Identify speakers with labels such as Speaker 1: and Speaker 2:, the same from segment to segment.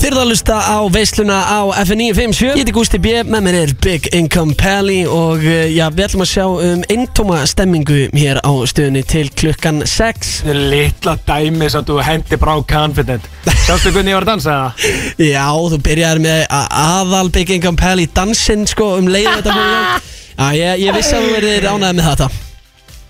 Speaker 1: eruð að lusta á veisluna á FN957 Ég heiti Gústi B, með mér er Big Income Pally og eh, já, við ætlum að sjá um eintóma stemmingu hér á stöðunni til klukkan 6
Speaker 2: Þetta er litla dæmi sem þú hendi brá confident Sjástu hvernig ég var að dansa það?
Speaker 1: Já, þú byrjar með a- aðal Big Income Pally dansinn sko um leiðu þetta fór í gang. Já, ég, ég vissi að þú verðir ánægð með þetta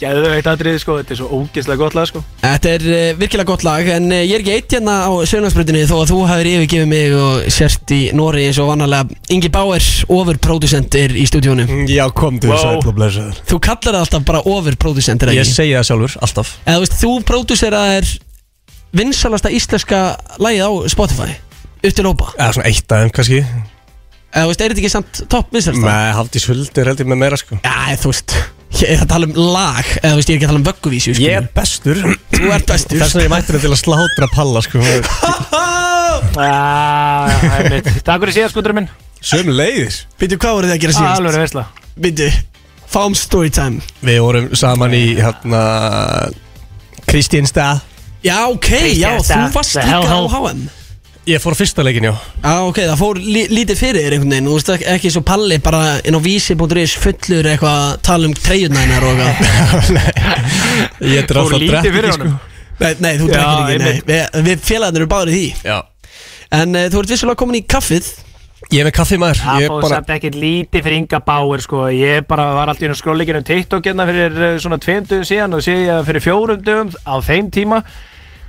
Speaker 2: Gæðu eitt aðrið sko, þetta er svo ógeðslega gott lag sko
Speaker 1: Þetta er uh, virkilega gott lag en uh, ég er ekki eitt hérna á Sjölandsbrutinni þó að þú hafið yfirgefið mig og sért í Nóri eins og vannarlega Ingi Bauer overproducent er í stúdíónu
Speaker 3: Mm, Já, kom til
Speaker 2: Wow.
Speaker 3: sæll og blessaður
Speaker 1: Þú kallar það alltaf bara overproducent er það
Speaker 3: Ég
Speaker 1: ekki?
Speaker 3: segi það sjálfur, alltaf
Speaker 1: Eða þú veist, þú producerað vinsalasta íslenska lagið á Spotify upp til ópa
Speaker 3: Eða svona eitt aðeim kannski
Speaker 1: Eða þú veist, er þetta ekki samt topp vinsalasta?
Speaker 3: Með Hafdís Huld er held ég með meira sko
Speaker 1: Já, þú veist, ég er að tala um lag eða þú veist, ég er ekki að tala um vögguvísu
Speaker 3: Ég er bestur Þess
Speaker 1: Þú ert bestur
Speaker 3: vegna ég mætti þetta til að slátra palla sko
Speaker 2: Ah, það er mitt. Takk fyrir síðan skundurum minn
Speaker 3: Sömu leiðis
Speaker 1: Býtu, hvað voruð þið að gera
Speaker 2: Ah,
Speaker 1: síðast?
Speaker 2: Alveg er veistla
Speaker 1: Býtu, fáum storytime
Speaker 3: Við vorum saman í hérna Kristínstað
Speaker 1: Já, ok, já,
Speaker 2: Kristján,
Speaker 1: þú
Speaker 2: það-
Speaker 1: varst
Speaker 2: það-
Speaker 1: líka á
Speaker 2: hell,
Speaker 1: HM
Speaker 3: Ég fór fyrsta leikin já
Speaker 1: Já, ok, það fór lí lítið fyrir þér einhvern veginn Þú veist ekki, ekki svo palli bara inn á vísi.is fullur eitthvað að tala um treyjunænar og eitthvað
Speaker 3: Nei Ég dráð
Speaker 2: Fór
Speaker 3: það
Speaker 2: lítið fyrir honum
Speaker 1: Nei, nei, þú
Speaker 2: Já,
Speaker 1: drekkir ekki, nei
Speaker 2: einmitt.
Speaker 1: Við, við félagarnir eru báðir í því
Speaker 3: Já
Speaker 1: En uh, þú ert vissulega komin í kaffið
Speaker 3: Ég er með kaffi maður
Speaker 2: Það
Speaker 3: Ég er
Speaker 2: fóð
Speaker 3: bara
Speaker 2: samt ekkert lítið fyrir Inga Bauer sko Ég bara var alltaf inn á skróleikinu TikTok hérna fyrir eh, svona tveim dögum síðan og sé ég að fyrir fjórum dögum á þeim tíma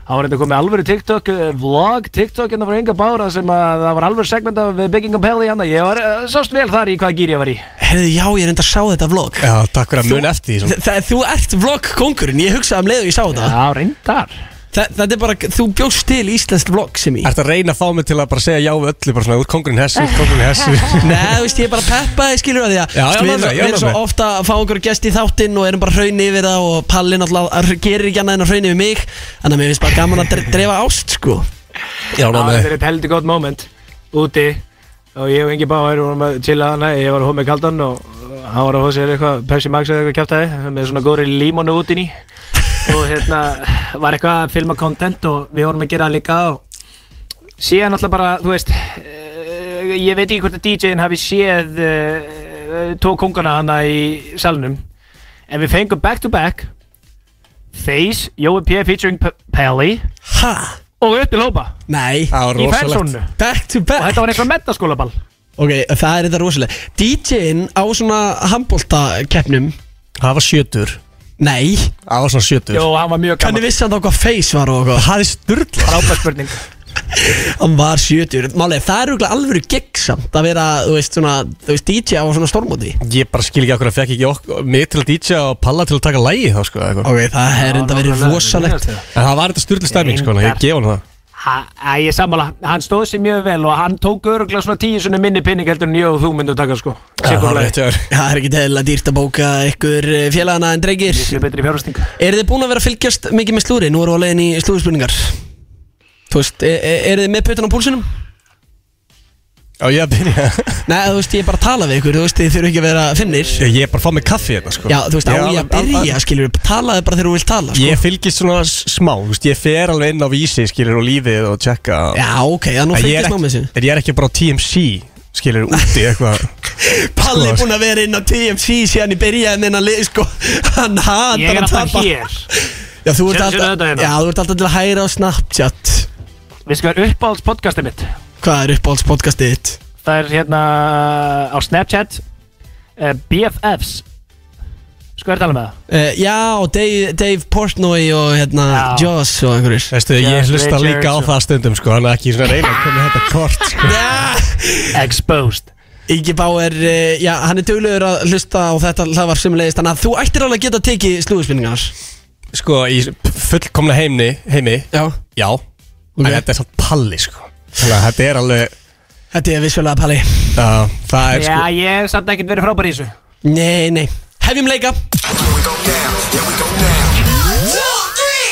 Speaker 2: Það var þetta komið alvöru TikTok, eh, vlog TikTok hérna frá Inga Bára sem að það var alvöru segment af eh, Big Inga Pelli hérna Ég var eh, sást vel þar í hvaða gýr ég var í
Speaker 1: Herðu, já, ég er enda að sjá þetta vlog
Speaker 3: Já, takk fyrir að muna eftir því svona.
Speaker 1: Þa, Þú ert vlog-kongurinn, ég hugsaði um leið og ég sá þetta
Speaker 2: Já, reyndar
Speaker 1: Þa, Þetta er bara, þú bjóst til íslenskt vlog sem ég
Speaker 3: Ertu að reyna að fá mig til að bara segja já við öllu Bara svona, þú ert kongurinn hessu, kongurinn hessu
Speaker 1: Nei, þú veist, ég er bara peppaði, skilur að því að
Speaker 3: Já, já,
Speaker 1: Þú veist,
Speaker 3: með
Speaker 1: Við
Speaker 3: það, já,
Speaker 1: við erum
Speaker 3: með
Speaker 1: svo
Speaker 3: það.
Speaker 1: ofta að fá einhverja gest í þáttinn og erum bara hraun yfir það og pallin alltaf gerir ekki annað en að hraun yfir mig Þannig að mér finnst bara gaman að dre- dreifa ást, sko
Speaker 3: Já, ná,
Speaker 2: Það
Speaker 3: með
Speaker 2: var eitt heldur gott moment úti og ég og Ingi Báir vorum að chilla hana, ég var að hóð með kaldan og hann var að hóð sér eitthvað Pepsi Max eða eitthvað kjátaði með svona góri límonu út inn í og hérna var eitthvað að filma content og við vorum að gera það líka og síðan alltaf bara, þú veist eh, ég veit ekki hvort að DJ-in hafi séð uh, tvo kongana hana í salnum en við fengum back to back Face, Jói P. featuring P- Pelli
Speaker 1: Ha?
Speaker 2: og upp til hópa
Speaker 1: Nei
Speaker 3: Það var
Speaker 2: í
Speaker 3: rosalegt
Speaker 2: fænsónu
Speaker 1: Back to
Speaker 2: og
Speaker 1: back
Speaker 2: þetta var eitthvað metaskólaball
Speaker 1: Ok, það er þetta rosalega DJ-in á svona handbóltakeppnum
Speaker 3: Það var sjötur
Speaker 1: Nei
Speaker 3: Það var svona sjötur
Speaker 2: Jó, hann var mjög
Speaker 1: Hvernig
Speaker 2: gaman
Speaker 1: vissi hann þá hvað face var og hvað
Speaker 3: Það er styrla
Speaker 2: Frábær spurning
Speaker 1: Hann var 70 Málega, það er auðvitað alvöru geggsamt að vera, þú veist, svona, þú veist, DJ á svona stormóti
Speaker 3: Ég bara skil ekki okkur að fekk ekki ok mig til að DJ og Palla til að taka lægi þá sko eða eitthvað.
Speaker 1: Ok, það er enda verið
Speaker 2: nákvæmlega,
Speaker 1: rosalegt
Speaker 2: það er
Speaker 3: En það var þetta styrli stemming sko, ég gef hann það
Speaker 2: Ha- ha, Ég er sammála, hann stóð sér mjög vel og hann tók öruglega svona tíu svona minni pinning heldur en ég og þú myndu taka sko
Speaker 3: Já, Það var
Speaker 2: Sérkulega,
Speaker 3: rétt hjá þér.
Speaker 1: Það er ekki eðlilega dýrt að bóka ykkur eh, félagana en drengir
Speaker 2: ég er betri í fjárhasting
Speaker 1: Eru þið búin að vera að fylgjast mikið með slúri? Nú eru á leiðin í slúðspurningar Þú veist, e- e- eru þið með pötun á púlsinum?
Speaker 3: Já, ég að byrja
Speaker 1: Nei, þú veist, ég er bara að tala við ykkur Þú veist, þið þurfu ekki að vera finnir
Speaker 3: Ég ég er bara að fá mig kaffi hérna sko
Speaker 1: Já, þú veist, á ég
Speaker 3: Ég er
Speaker 1: að
Speaker 3: alveg- alveg-
Speaker 1: byrja, skilur Talaðu bara þegar þú vilt tala, sko
Speaker 3: Ég fylgist svona s- smá, þú veist, ég fer alveg inn á vísi skilur og lífið og tjekka
Speaker 1: Já, ok, það nú
Speaker 3: En ég er
Speaker 1: fylgjast
Speaker 3: ekki-
Speaker 1: má með þessu
Speaker 3: En ég er ekki bara á TMC skilur úti eitthvað
Speaker 1: Palli
Speaker 3: Sko,
Speaker 1: er búin að vera inn á TMC síðan í byrjaðin en að lið, sko Hann hatar
Speaker 2: Ég er alltaf
Speaker 1: tapa.
Speaker 2: hér
Speaker 1: Já, þú ert
Speaker 2: Sérðu- sérðu
Speaker 1: alltaf
Speaker 2: þetta hérna?
Speaker 1: Já, þú ert alltaf til að hæra á Snapchat
Speaker 2: Við sko er uppáhalds podcastið mitt
Speaker 1: Hvað er uppáhaldspodcastið þitt?
Speaker 2: Það er hérna á Snapchat eh, BFFs Sko er að tala með það?
Speaker 1: Uh, já, og Dave, Dave Portnoy og hérna,
Speaker 2: Já.
Speaker 1: Joss og einhverjir
Speaker 3: Veistu, ég
Speaker 2: Yes,
Speaker 3: hlusta
Speaker 2: Richard,
Speaker 3: líka á
Speaker 2: so-
Speaker 3: það stundum sko Þannig að ekki svona reyna að koma þetta kort sko
Speaker 2: Exposed
Speaker 1: Ingi Bauer, uh, já, hann er duglegur að hlusta á þetta hlaðvar sem leiðist Þannig að þú ættir alveg að geta tekið slúðspinningar
Speaker 3: Sko, í fullkomna heimni, heimi
Speaker 1: Já
Speaker 3: Já, en þetta er samt palli sko Þannig að þetta er alveg
Speaker 1: Þetta er vissulega Palli
Speaker 3: uh, Það er sko
Speaker 2: Já, ég hef samt ekkert verið frábær í þessu
Speaker 1: Nei, nei Hefjum leika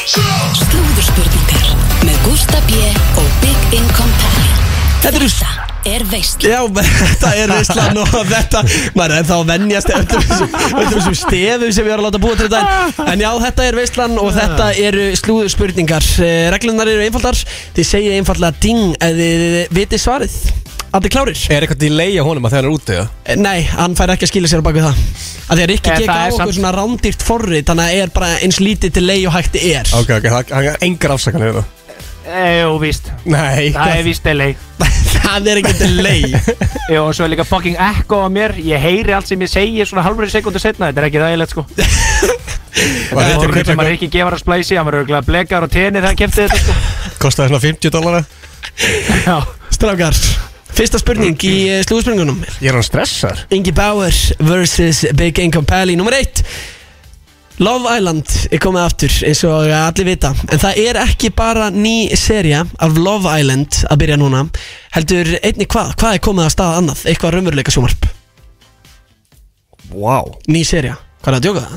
Speaker 4: Slúðurspurningar með Gústa B. og Big Income Pally
Speaker 1: Þetta eru
Speaker 4: er veist
Speaker 1: Já, þetta er veistlan og þetta maður er þá að venjast öllum þessum- öllum þessum stefum sem við erum að láta búa til þetta en já, þetta er veistlan og þetta eru slúðu spurningar reglunar eru einfaldar, þið segja einfallega ding ef þið vitið svarið Allir klárir?
Speaker 3: Er eitthvað delay á honum að þegar hann er úti? eða?
Speaker 1: Eh, Nei, hann fær ekki að skila sér á baku það að Því að Rikki
Speaker 2: Eh,
Speaker 1: gekk
Speaker 2: það
Speaker 1: á
Speaker 2: er
Speaker 1: okkur
Speaker 2: samt-
Speaker 1: svona rándýrt forrið Þannig að er bara eins lítið til leið og hægt er
Speaker 3: Ok, ok, það- hann er engar afsakanir hérna.
Speaker 2: Eh, Jú, víst Það er
Speaker 3: Nei, hvað-
Speaker 2: víst delay
Speaker 1: Það er ekki til leið
Speaker 2: Jú, og svo er líka fucking echo á mér Ég heyri allt sem ég segi svona halvri sekundu setna Þetta er ekki þægilegt sko Þetta er
Speaker 3: var þetta að
Speaker 2: hlut
Speaker 3: kaupa
Speaker 2: sem maður ekki gefur að splæsi Hann var auðvitað blekar og tenir þegar hann kefti þetta sko
Speaker 3: eitthvað- Kostaði svona 50 dólar
Speaker 2: Já,
Speaker 1: Strákar, fyrsta spurning í eh, slúðspurningunum
Speaker 3: Ég er hann stressar
Speaker 1: Ingi Bauer vs. Big Income Pally Númer eitt Love Island er komið aftur eins og allir vita En það er ekki bara ný seria af Love Island að byrja núna Heldur einni hvað? Hvað er komið að staða annað? Eitthvað raunveruleika sjómarp?
Speaker 3: Vá
Speaker 1: Ný seria Hvað er að djóka það?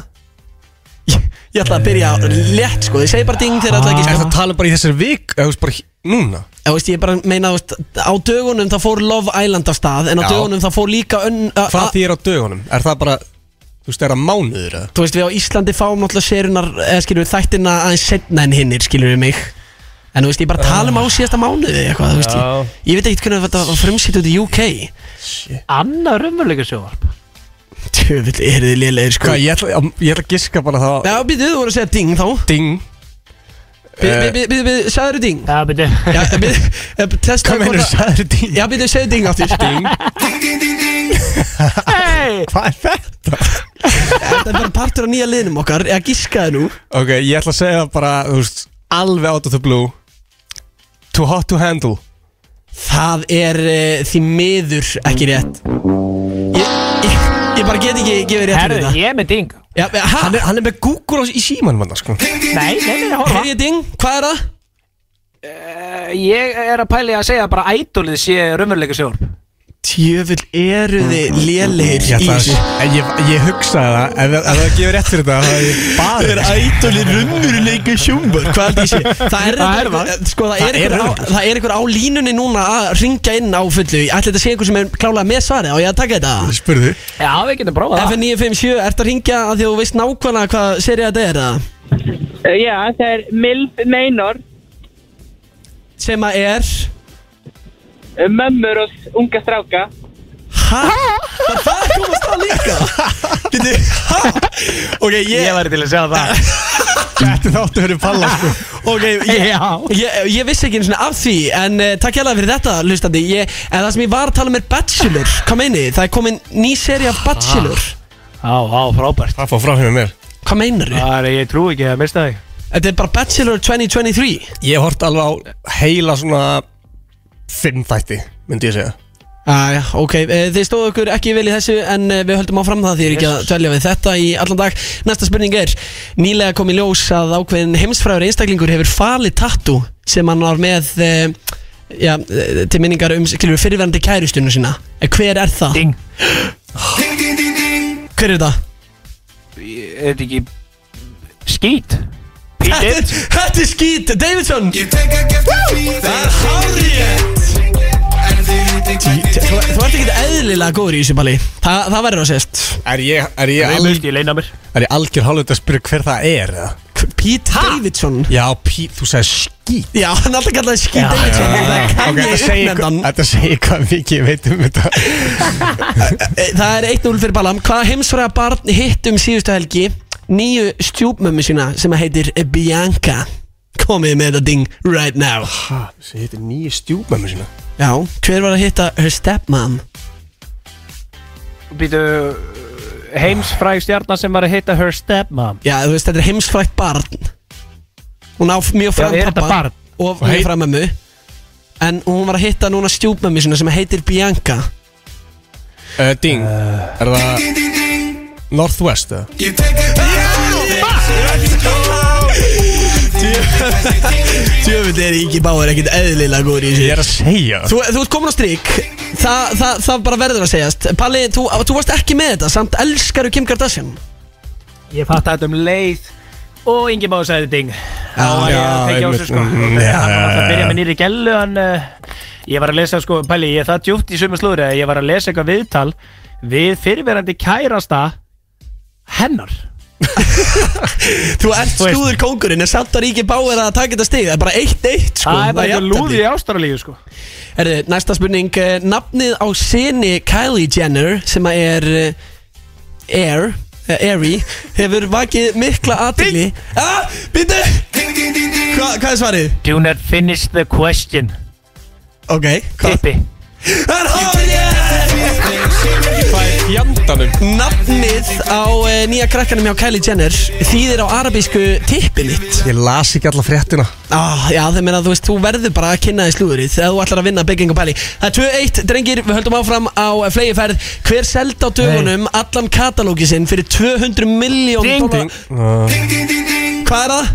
Speaker 1: Ég, ég ætla að byrja á létt sko Ég segi bara ding þegar alltaf
Speaker 3: Er
Speaker 1: ekki
Speaker 3: það að
Speaker 1: sko
Speaker 3: tala um bara í þessari vik eða þú veist bara hí- núna?
Speaker 1: Ég, veist, ég bara meina þú veist, á dögunum það fór Love Island af stað En á
Speaker 3: Já.
Speaker 1: dögunum það fór líka önn a- a-
Speaker 3: Hvað því er á dögunum? Er það bara, þú veist, er það mánuður eða?
Speaker 1: Þú veist við á Íslandi fáum alltaf sérunar eða skilur við þættina aðeins setna en hinnir skilur við mig En þú veist ég
Speaker 3: Ah.
Speaker 1: bara tala um á síðasta mánuði eitthvað þú veist
Speaker 2: Já.
Speaker 1: ég, ég veit ekkert hvernig þetta var frumsýtt út í UK
Speaker 2: annað raunveruleika sjóvarp
Speaker 1: Tjöfull er þið lélegir sko
Speaker 3: Hvað, ég ætla, ég ætla að giska bara það
Speaker 1: Já býðu þú voru að segja ding þá
Speaker 3: Ding Eh.
Speaker 1: Býðu, býðu, býðu, sagður þú ding?
Speaker 2: Já, beti
Speaker 1: Já eh, býðu, testa
Speaker 3: Hvað meinur sæður ding?
Speaker 1: Já býðu, segðu ding áttir
Speaker 3: Ding
Speaker 2: Hey!
Speaker 3: Hvað er þetta?
Speaker 1: Þetta er bara partur af nýja liðnum okkar Eða giskaði nú
Speaker 3: Ok, ég ætla að segja bara, þú veist, alveg out of the blue Too hot to handle
Speaker 1: Það er uh, því miður ekki rétt Ég, ég, ég bara get ekki gefið rétt
Speaker 2: Herðu,
Speaker 1: fyrir þetta
Speaker 2: ég er með ding
Speaker 1: Já, ha?
Speaker 3: Hann er, hann er með Google á, í símanum hann, sko Ding
Speaker 2: Nei, nei, nei, horfa
Speaker 1: Hef ég ding? Hvað er það?
Speaker 2: Ég er að pæli að segja bara ædolið sé raunveruleika sjóvarp
Speaker 1: Tjöfull eru þið lélegir
Speaker 3: Ég, ætla, að- en ég, ég hugsaði það, ef, ef það gefur rétt fyrir þetta, það er bara
Speaker 1: Það er ædoli rummuruleika sjómbar Hvað held ég sé? Það er,
Speaker 2: Það er
Speaker 1: það. Sko, það, er
Speaker 3: Það er
Speaker 1: einhver á,
Speaker 3: örugglega.
Speaker 1: það er einhver á línunni núna að ringja inn á fullu Ætli þetta sé einhver sem er klálega með svarið og ég að taka þetta
Speaker 3: Spurðu
Speaker 2: Já, við getum
Speaker 1: Sko-
Speaker 2: prófað það
Speaker 1: FN957, ertu að ringja að því að þú veist nákvæmlega hvað serið þetta er eða?
Speaker 5: Uh, Já, það er Milf Meinor,
Speaker 1: Sem að er
Speaker 5: uh, mömmur og s- unga stráka.
Speaker 1: Hæ? Var það að komast það líka? Getur, hæ? Ok,
Speaker 2: Ég
Speaker 1: ég,
Speaker 2: væri til að segja það
Speaker 3: Þetta þáttu fyrir palla, sko
Speaker 1: ok, ég,
Speaker 2: Já
Speaker 1: Ég, ég vissi ekki einu svona af því En uh, takk hérlega fyrir þetta, hlustandi ég, En það sem ég var að tala um er Bachelor Hvað meini þið? Það er komin ný seri af Bachelor
Speaker 2: Á, á, frábært
Speaker 3: Það fór frá hérna mér
Speaker 1: Hvað meinar þið?
Speaker 2: Það er, ég trú ekki að mista þig
Speaker 1: Þetta er bara Bachelor 2023
Speaker 3: Ég hort alveg á heila svona Fimm þætti, myndi ég segja
Speaker 1: Æja, ok, eh, þið stóðu okkur ekki vel í þessu en eh, við höldum áfram það því er ekki að dvelja við þetta í allan dag Næsta spurning er, nýlega kom í ljós að ákveðin heimsfræður einstaklingur hefur falið tattu sem hann var með eh, já, eh, til minningar um skilur, fyrirverandi kærustunum sína En Hver er það?
Speaker 2: Ding
Speaker 1: Hver er það?
Speaker 2: Ég- Er þetta ekki Skít
Speaker 1: Þetta er-
Speaker 2: Pítið
Speaker 1: Þetta er skýt, Davidson Það er hárið Þú þú ert ekki eðlilega góður í þessu bali Þa, Það verður að sést
Speaker 3: Er ég, er ég,
Speaker 2: Ég
Speaker 3: al,
Speaker 2: veist, ég leina mér
Speaker 3: er ég algjör hálfut að spyrja hver það er, eða?
Speaker 1: Pete Davidson
Speaker 3: Já, Pí, þú sagði skít
Speaker 1: Já, hann er alltaf kallaði skýt Davidson Það
Speaker 3: Ok,
Speaker 1: kann
Speaker 3: þetta
Speaker 1: ég
Speaker 3: segir
Speaker 1: uppnefndan
Speaker 3: hvað- þetta segir hvað mikið ég veit um þetta
Speaker 1: E, Það er 1-0 fyrir Balam Hvað heimsfræða barn hitt um síðustu helgi Nýju stjúpmömmu sína sem að heitir Bianca Komið með þetta ding right now
Speaker 3: Hæ, þessi heitir nýju stjúpmömmu sína
Speaker 1: Já, hver var að hitta her stepmom?
Speaker 2: Býtu Heimsfræg stjarnar sem var að hitta her stepmom
Speaker 1: Já, þú veist, þetta er heimsfrækt barn Hún á mjög fram
Speaker 2: Já, er þetta
Speaker 1: pappa
Speaker 2: barn?
Speaker 1: Og
Speaker 3: Og
Speaker 1: mjög
Speaker 3: heit-
Speaker 1: fram mömmu En hún var að hitta núna stjúpmömmu sinna sem heitir Bianca
Speaker 3: uh, Ding, er það Northwest eða?
Speaker 1: Djöfull er Ingi Báður ekkit eðlilega góður í
Speaker 3: Ég er að segja
Speaker 1: Þú, þú ert komin á strik Þa, það, það bara verður að segjast Palli, þú, þú varst ekki með þetta Samt elskaru Kim Kardashian
Speaker 2: Ég fatt að þetta um leið og Ingi Már sagði ding þá
Speaker 3: Já,
Speaker 2: var ég
Speaker 3: já,
Speaker 2: að tekja á sig
Speaker 3: einmitt.
Speaker 2: sko
Speaker 3: Mm,
Speaker 2: Þannig að hann var
Speaker 3: já,
Speaker 2: alltaf að byrja
Speaker 3: já.
Speaker 2: með nýri gellu en uh, ég var að lesa sko Pæli, ég er það djúpt í sömu slúri að ég var að lesa eitthvað viðtal við fyrirverandi kærasta hennar
Speaker 3: Sko,
Speaker 1: Þú ert
Speaker 2: Þú veist-
Speaker 1: slúður kóngurinn En samt að Ríki Báir að taka þetta stig Það er bara 1-1 sko
Speaker 2: það er bara eitthvað
Speaker 1: jafntefli.
Speaker 2: lúði í ástralíu sko
Speaker 1: Herðu, næsta spurning eh, Nafnið á sinni Kylie Jenner sem að er eh, Air eh, Airy hefur vakið mikla aðtili Ah, býttu Hva, Hvað er svarið?
Speaker 2: Do not finish the question
Speaker 1: Ok, hvað?
Speaker 2: Tippi
Speaker 1: Það er hárið!
Speaker 3: Hvað er fjandanum?
Speaker 1: Nafnið á eh, nýja krakkanum hjá Kylie Jenner þýðir á arabísku tippið mitt
Speaker 3: Ég las ekki alla fréttina
Speaker 1: Ah, já, það meina, þú veist, þú verður bara að kynna þig slúðurinn þegar þú ætlar að vinna bygging og pæli. Það er 2-1, drengir, við höldum áfram á flegiferð. Hver seldi á dögunum allan katalógi sinn fyrir 200 miljón
Speaker 2: Ding,
Speaker 1: dólar?
Speaker 3: Ah.
Speaker 1: Hvað er það?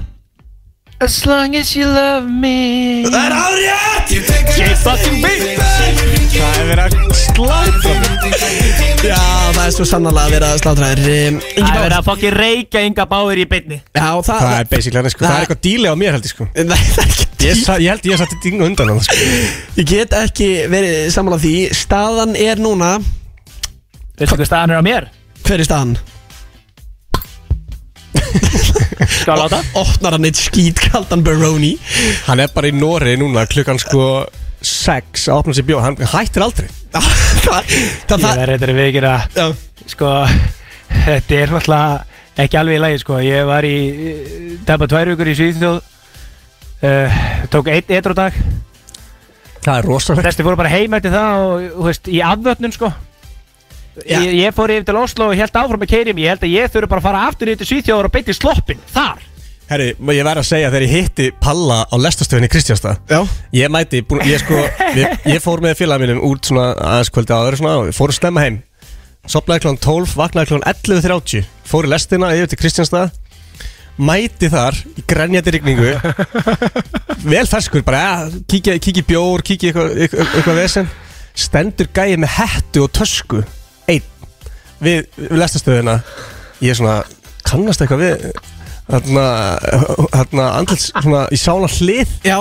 Speaker 2: As long as you love me
Speaker 1: Það er árið!
Speaker 2: Ég fucking beat
Speaker 3: Það er verið að sláta
Speaker 1: Já, það er svo sannarlega að vera slátræðir. Um, Ingi
Speaker 2: Það er
Speaker 1: Bár.
Speaker 2: að fokkin reykja Inga Báir í beinni
Speaker 1: Já, það...
Speaker 3: Það er basically hann sko Það er eitthvað díli á mér held ég sko
Speaker 1: Nei, það er ekki
Speaker 3: Ég, sa, ég held ég satt í dingu undan hann sko
Speaker 1: Ég get ekki verið sammála því. Staðan er núna...
Speaker 2: Veistu hvað staðan er á mér?
Speaker 1: Hver er staðan?
Speaker 2: Skal að láta?
Speaker 1: Opnar hann eitt skít kaldan Baroni.
Speaker 3: Hann er bara í Nóri núna klukkan sko 6 að opna sér bjóð Hann hættir aldrei
Speaker 1: það, það, það,
Speaker 2: Ég verði þetta við ekki að
Speaker 1: Já.
Speaker 2: Sko, þetta er náttúrulega ekki alveg í lagi sko Ég var í, tapa tvær vikur í Svíþjóð uh, Tók einn eitt dag
Speaker 3: Það er rosalega
Speaker 2: Þessi fóru bara heim eftir það og, þú veist, í afvötnun sko
Speaker 1: Já.
Speaker 2: ég, ég fór yfir til Oslo og held áfram að keyra í mig Ég held að ég þurfi bara að fara aftur yfir til Svíþjóður og beinti sloppin Þar
Speaker 3: Herri, má ég verð að segja þegar ég hitti Palla á lestastöfinni Kristjánstað
Speaker 1: Já.
Speaker 3: Ég mæti, búin, ég sko ég, ég fór með félag mínum út svona aðeins kvöldi áður svona, og fórum stemma heim Sopnaði klón 12, vaknaði klón 11.30 Fór í lestina yfir til Kristjánstað Mæti þar í grenjandi rigningu Vel ferskur bara, ja, kíkja, kíkja í bjór Kíkja í eitthvað, eitthvað, eitthvað vesen Stendur gæið með hettu og tösku Einn Við, við lestastöðina Ég er svona, kannast eitthvað við Þarna, þarna andlits svona, Ég sá hana hlið
Speaker 1: Já,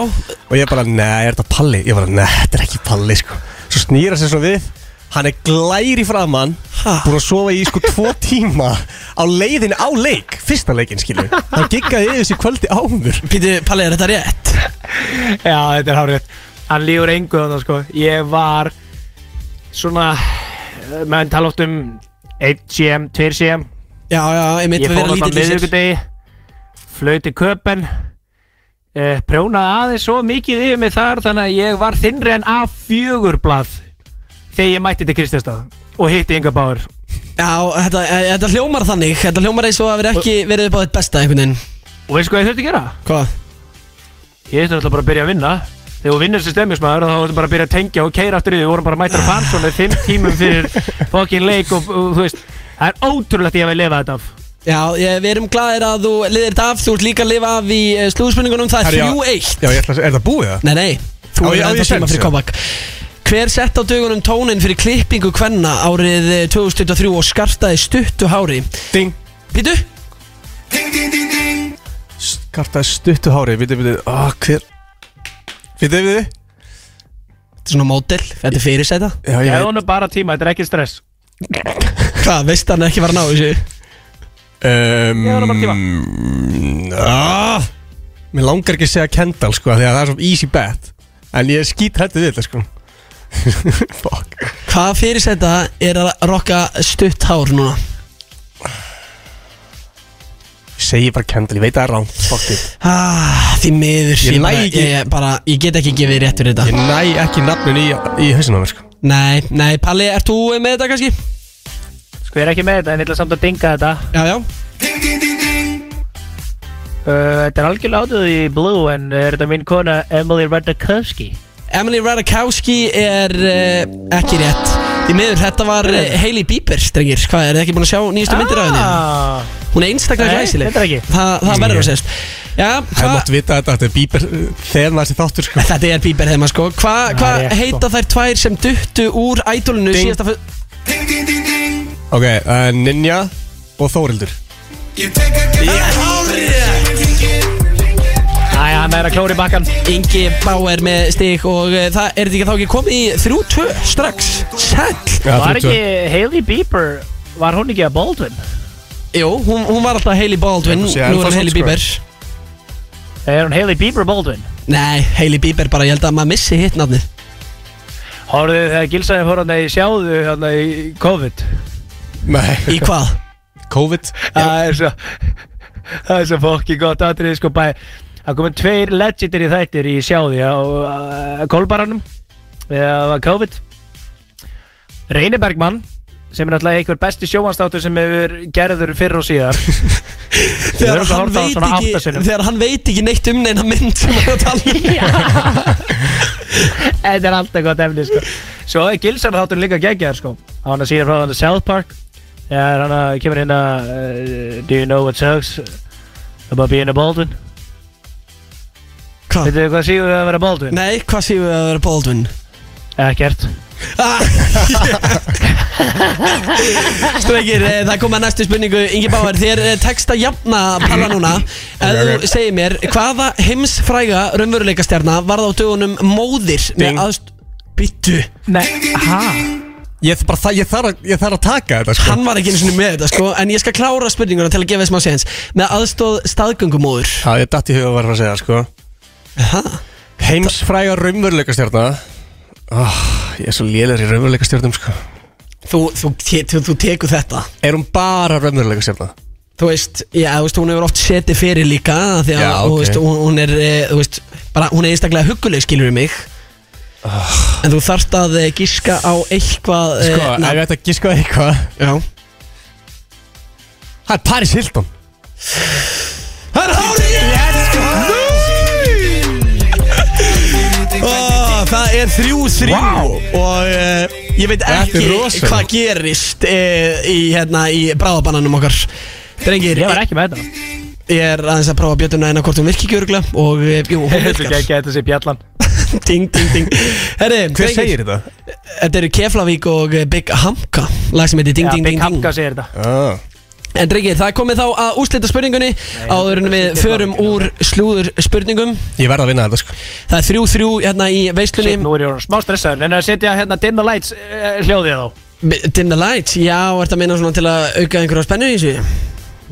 Speaker 3: Og ég bara, nei, er þetta Palli? Ég bara, nei, þetta er ekki Palli, sko Svo snýra sér svona við Hann er glæri framann
Speaker 1: Ha?
Speaker 3: Búin að sofa í sko tvo tíma Á leiðinu á leik Fyrsta leikinn, skilur við. Hann giggaði yfir þessi kvöldi áður
Speaker 1: Pítu, Palli, er þetta rétt?
Speaker 2: Já, þetta er hárið Hann lífur engu þannig sko Ég var svona eh, menn tala oft um 1 cm, 2 cm
Speaker 1: Já, já, ég myndi
Speaker 2: Ég
Speaker 1: að
Speaker 2: fór
Speaker 1: vera
Speaker 2: alltaf
Speaker 1: lítill í sér
Speaker 2: miðugudegi Flöyti köpen eh, Prjónaði aðeins svo mikið yfir mig þar Þannig að ég var þinnri en A4 blað Þegar ég mætti til Kristjastað Og hitti Inga Báður
Speaker 1: Já, þetta, e, þetta hljómar þannig Þetta hljómar eins og að vera ekki verið upp á þitt besta einhvern veginn
Speaker 2: Og veistu hvað ég þurfti að gera?
Speaker 1: Hvað?
Speaker 2: Ég þurfti alltaf bara að byrja að vinna Þegar þú vinnur sem stemmismæður þá þurfti bara að byrja að tengja og keira aftur í því Við vorum bara mættar að fansónu fimm tímum fyrir fokkin leik og, og þú veist Það er ótrúlegt ég að við lifa þetta af
Speaker 1: Já, ég, við erum glaðir að þú liðir þetta af Þú ert líka að lifa af í slúðspunningunum Það er
Speaker 3: Herri, já.
Speaker 1: 3-1
Speaker 3: Já, ég ætla að, er það búið það?
Speaker 1: Nei, nei, þú
Speaker 3: Á,
Speaker 1: er
Speaker 3: já,
Speaker 1: enda tíma
Speaker 3: ég sent,
Speaker 1: fyrir
Speaker 3: já.
Speaker 1: comeback Hver sett á dögunum tónin fyrir klippingu kvenna árið eh, 2023 og skartaði stuttu hári?
Speaker 3: Ding
Speaker 1: Pítu?
Speaker 3: Skartaði stuttu hári, vitið, vitið Ó, hver Vitið, vitið
Speaker 1: Þetta er svona mótil, þetta er fyrirsæta
Speaker 3: Já,
Speaker 2: Ég
Speaker 3: ég veit
Speaker 2: hef honum bara tíma, þetta er ekki stress
Speaker 1: Hvað, veist hann ekki var að ná þessu?
Speaker 2: Ég
Speaker 3: um,
Speaker 2: hef honum bara
Speaker 1: Mm.
Speaker 2: tíma
Speaker 3: Ah, mér langar ekki að segja Kendall sko Því að það er svo easy bet En ég er skít við þetta sko Fuck
Speaker 1: Hvað fyrirsæta er að rokka stutt hár núna?
Speaker 3: Ég segi bara Kendall, ég veit að það er rán Fuck it
Speaker 1: Ah, því miður
Speaker 3: Ég
Speaker 1: Ég,
Speaker 3: næ
Speaker 1: bara,
Speaker 3: ekki-
Speaker 1: ég, bara, ég get ekki gefið rétt fyrir
Speaker 3: Ég
Speaker 1: þetta
Speaker 3: næ ekki nafnin í, í hausinu á mér sko
Speaker 1: Nei, nei, Palli, ert þú með þetta kannski?
Speaker 2: Sko ég er ekki með þetta en ég ætla samt að dinga þetta uh,
Speaker 1: Já, já
Speaker 2: Eh, Þetta er algjörlega átöð í blue en er þetta mín kona Emily Radakowski
Speaker 1: Emily Radakowski er uh, ekki rétt Því miður, þetta var uh, Hailey Bieber, strengir Hvað, er þið ekki búin að sjá nýjastu myndir af henni?
Speaker 2: Ah,
Speaker 1: Hún er einstaklega
Speaker 2: Nei,
Speaker 1: glæsileg
Speaker 2: þetta er ekki.
Speaker 1: Þa, Það verður
Speaker 3: Nei.
Speaker 1: að segjast Já,
Speaker 3: Það
Speaker 1: hvað
Speaker 3: mátt vita þetta, þetta er bíber Þegar maður sér þáttur sko
Speaker 1: Þetta er Bieber heima sko Hvað hva
Speaker 2: rétt, sko.
Speaker 1: heita þær tvær sem duttu úr ædolinu
Speaker 3: Ding.
Speaker 1: síðasta fyrst?
Speaker 3: Ok, uh, Ninja eh, og Þórildur
Speaker 1: Það er hárið
Speaker 2: hann er að klóri bakkan
Speaker 1: Ingi Bauer með stig og uh, það er þetta ekki þá ekki komið í 3-2 strax Sæll
Speaker 3: Já,
Speaker 2: Var
Speaker 3: 32.
Speaker 2: ekki Hailey Bieber Var hún ekki að Baldwin?
Speaker 1: Jú, hún, hún var alltaf Hailey Baldwin,
Speaker 3: Já, þú
Speaker 1: nú
Speaker 3: sé,
Speaker 1: er
Speaker 3: ennþá
Speaker 1: hún Hailey
Speaker 2: sko.
Speaker 3: svona,
Speaker 1: Bieber
Speaker 2: Er hún Hailey Bieber Baldwin?
Speaker 1: Nei, Hailey Bieber bara, ég held að maður missi hitt nafnið
Speaker 2: Hóruðu þegar Gilsæði fór hann í sjáðu hann í COVID
Speaker 1: Í
Speaker 3: Nei,
Speaker 1: hvað?
Speaker 3: COVID
Speaker 2: Það er svo Það er svo fokki gott atrið sko bæ Það komum tveir legendir í þættir í sjáði á uh, Kolbaranum Það var COVID Reyni Bergmann sem er náttúrulega einhver besti sjóhanstátur sem hefur gerður fyrr og síðar
Speaker 1: Þegar
Speaker 2: örugglega
Speaker 1: hann,
Speaker 2: horft á hann
Speaker 1: veit
Speaker 2: svona átta
Speaker 1: ekki,
Speaker 2: sinnum.
Speaker 1: þegar hann veit ekki neitt um neina mynd sem hann er að tala um
Speaker 2: Þetta er alltaf gott efni sko Svo er Gilsan þáttur líka geggjaður sko Á hann að síðan frá hann að South Park Þegar hann að kemur inn að uh, Do you know what sucks about being a Baldwin?
Speaker 1: Hvað?
Speaker 2: Veitu hvað sígur við að vera Baldwin?
Speaker 1: Nei, hvað séu við að vera Baldwin?
Speaker 2: Ekkert
Speaker 1: Ah, yeah. Strækir, eh, það kom að næstu spurningu Ingi Báar, þér eh, tekst að jafna palla núna Ef
Speaker 3: Ok, ok.
Speaker 1: þú segir mér, hvaða heimsfræga raunveruleikastjarna varð á dögunum móðir
Speaker 3: Ding.
Speaker 1: með aðst... Bittu,
Speaker 2: Nei, hæ?
Speaker 3: Ég þarf bara það, ég þarf að, ég þarf að taka þetta sko
Speaker 1: hann var ekki einu sinni með þetta sko En ég skal klára spurninguna til að gefa þess maður séðans Með aðstóð staðgöngumóður
Speaker 3: Já, ég datt í huga að vera að segja sko
Speaker 1: Ha?
Speaker 3: Heimsfræga raunveruleikastjörna oh, Ég er svo lélir í raunveruleikastjörnum sko
Speaker 1: Þú, þú, þú, þú, þú tekur þetta
Speaker 3: Er hún bara raunveruleikastjörna?
Speaker 1: Þú veist, já, þú veist, hún hefur oft setið fyrir líka af Því að,
Speaker 3: Já,
Speaker 1: þú
Speaker 3: ok.
Speaker 1: veist, hún, hún er, eh, þú veist Bara, hún er einstaklega hugguleg, skilur mig En þú þarft að eh, giska á eitthvað eh,
Speaker 3: Sko, ef ég ætti að gíska á eitthvað
Speaker 1: já
Speaker 3: Það er Paris Hilton
Speaker 1: Það er hárið Ó, Það er þrjú þrjú og uh, ég veit
Speaker 3: Þetta er
Speaker 1: ekki
Speaker 3: rosalegt.
Speaker 1: hvað gerist uh, í, hérna, í bráðabananum okkar Drengir,
Speaker 2: Ég var
Speaker 1: ég
Speaker 2: ekki með þetta
Speaker 1: er aðeins að prófa bjötuna en að hvort hún virki ekki örgla og eh, jú, hún
Speaker 2: Þetta
Speaker 1: virkar
Speaker 2: geggja þetta sé bjallan
Speaker 1: Ding, ding, ding Herri,
Speaker 3: Hver
Speaker 1: drengir,
Speaker 3: segir þetta?
Speaker 1: Þetta eru Keflavík og eh, Big Hamka Lag sem heitir Ding,
Speaker 2: Já,
Speaker 1: ding,
Speaker 2: Big
Speaker 1: ding, ding
Speaker 2: Hamka segir þetta
Speaker 3: Ah.
Speaker 1: En drengir, það er komið þá að úslita spurningunni Áður en við förum úr slúður spurningum
Speaker 3: Ég verð að vinna þetta sko
Speaker 1: Það er 3-3 hérna í
Speaker 2: Shit,
Speaker 1: veislunni
Speaker 2: Nú er ég orðinn smá stressaður En að setja hérna Dim the Lights eh, hljóðið þá
Speaker 1: Dim the lights, já, er þetta meina svona til að auka einhverja spennu í þessu?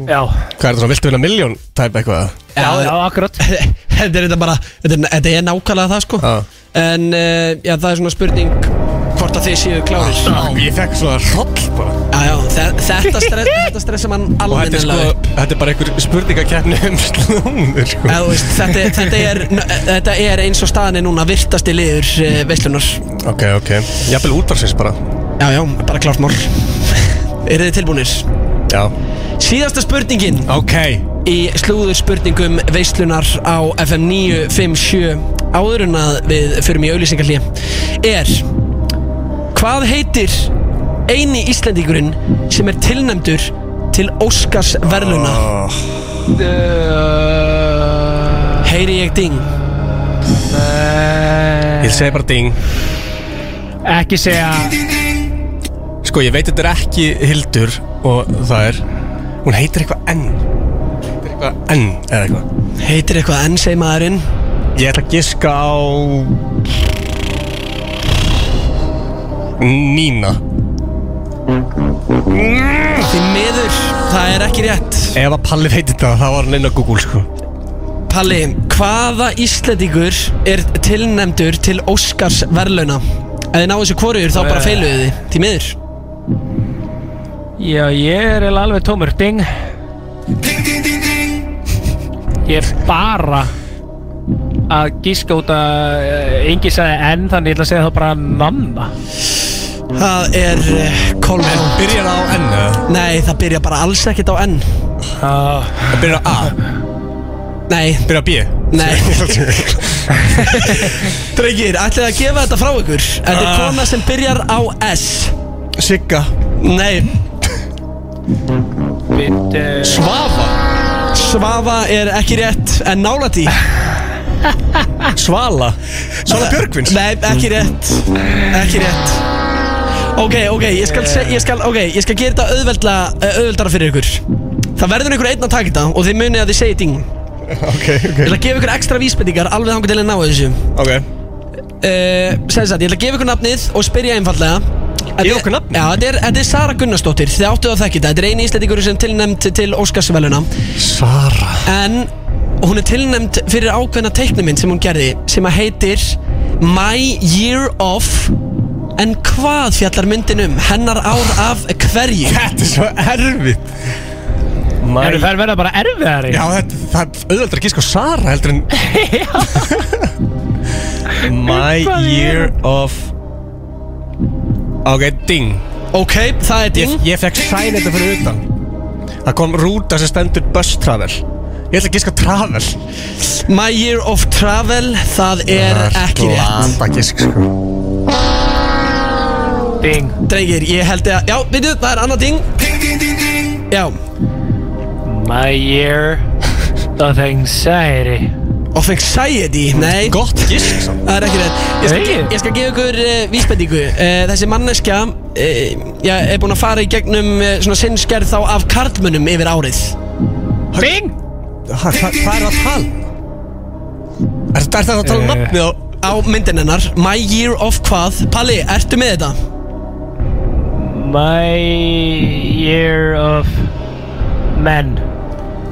Speaker 2: Já,
Speaker 3: Hvað er þetta svona, viltu vinna miljón tæp eitthvað?
Speaker 2: Mm. já, já, akkurat
Speaker 1: Þetta er þetta bara, þetta er, þetta er nákvæmlega það sko
Speaker 3: Já.
Speaker 1: En uh, já, það er svona spurning hvort að þið séu klárir
Speaker 3: Ég fekk svona hroll bara
Speaker 1: Já, já, þe þetta, stress, þetta stressa mann
Speaker 3: Ah. Og þetta er,
Speaker 1: almennilega upp
Speaker 3: sko, þetta er bara einhver spurningakeppni um slúnir sko
Speaker 1: Eða, þú veist, þetta, þetta, er, þetta er eins og staðan er núna virtasti liður uh, veislunar Já,
Speaker 3: Ok, ok Jafnvel útvarsins bara
Speaker 1: já, bara klárt mál Eru þið tilbúinir?
Speaker 3: Já
Speaker 1: Síðasta spurningin
Speaker 3: Ok
Speaker 1: í slúður spurningum veislunar á FM 957 áður en að við förum í auðlýsingarlíja er Hvað heitir eini Íslendingurinn sem er tilnæmdur til Óskars verðluna?
Speaker 3: oh.
Speaker 1: Heyri ég ding?
Speaker 3: Ég segi bara ding
Speaker 2: Ekki segja
Speaker 3: Sko, ég veit þetta er ekki Hildur Og það er Hún heitir eitthvað enn Heitir eitthvað enn Eða eitthvað
Speaker 1: Heitir eitthvað enn segi maðurinn?
Speaker 3: Ég ætla að giska á Nína
Speaker 1: Því miður, það er ekki rétt
Speaker 3: Ef að Palli veit þetta þá var hann inn á Google sko
Speaker 1: Palli, hvaða Íslendingur er tilnæmdur til Óskars verðluna? Ef þið náðu þessu hvorugur þá bara feiluðu þið, því miður
Speaker 2: Já, ég er eiginlega alveg tómur Ding Ég er bara að gíska út að eh, Ingi sagði enn Þannig ég ætla að segja þá bara nanna
Speaker 1: Það er uh, Kolbrún
Speaker 3: Byrjar það á enn eða?
Speaker 1: Nei, það byrja bara alls ekkert á N
Speaker 2: Já,
Speaker 3: Það byrjar á A
Speaker 1: Nei,
Speaker 3: Byrjar á B
Speaker 1: nei Drengir, ætlið að gefa þetta frá ykkur Þetta er kona sem byrjar á S
Speaker 3: Sigga
Speaker 1: Nei,
Speaker 2: við eh,
Speaker 3: Svafa
Speaker 1: Svava er ekki rétt En nálætt í
Speaker 3: Svala Svala Björgvins
Speaker 1: Nei, ekki rétt Ekki rétt Ok, ok, ég skal, se- ég skal, okay, ég skal eh, gera þetta auðveldla, auðveldara fyrir ykkur Það verður ykkur einn að taka þetta Og þið munið að þið segið ding
Speaker 3: Ok, ok,
Speaker 1: Ég ætla að gefa ykkur ekstra vísbendingar alveg þangur til að ná þessu
Speaker 3: ok
Speaker 1: uh, Sæði satt, ég ætla að gefa ykkur nafnið og spyrja einfallega
Speaker 3: Gefa okkur nafnið?
Speaker 1: Já, þetta er, þetta er Sara Gunnarsdóttir, þið áttu það þekkið Þetta er eini íslendingur sem tilnæmt til Óskarsveluna
Speaker 3: Sara
Speaker 1: En hún er tilnæmt fyrir ákveðna teiknumynd sem hún gerði Sem að heitir My Year Of En hvað fjallar myndin um? Hennar ár af hverju?
Speaker 3: Þetta er svo erfitt Mæ...
Speaker 2: Eru þær verða bara erfiðari?
Speaker 3: Já, þetta, það er auðvöldar að gíska á Sara heldur en My
Speaker 2: Hvað er-
Speaker 3: year of Ok, ding
Speaker 1: Ok, það er
Speaker 3: Ég,
Speaker 1: ding
Speaker 3: ég fekk sæn þetta fyrir utan Það kom rúta sem stendur bus travel Ég ætla að gíska travel
Speaker 1: My Year of Travel, það er ekki rétt
Speaker 3: Landa gísk sko
Speaker 2: Ding
Speaker 1: Drengir, ég held að, já, veitu, það er annað ding Já,
Speaker 2: My year of anxiety
Speaker 1: of anxiety, nei
Speaker 3: Gott gísk samt
Speaker 1: Það er ekki rétt Ég skal,
Speaker 2: Nei.
Speaker 1: ég skal gefa ykkur uh, vísbendingu uh, Þessi manneskja uh, já, er búin að fara í gegnum uh, svona sinnskerð þá af karlmönnum yfir árið
Speaker 2: Ding
Speaker 3: Ha, hva- Hvað er það að tala? um? Er, er það að tala um
Speaker 2: Eh.
Speaker 3: nafnið á
Speaker 1: Á myndin hennar, My Year of hvað Palli, ertu með þetta?
Speaker 2: My year of men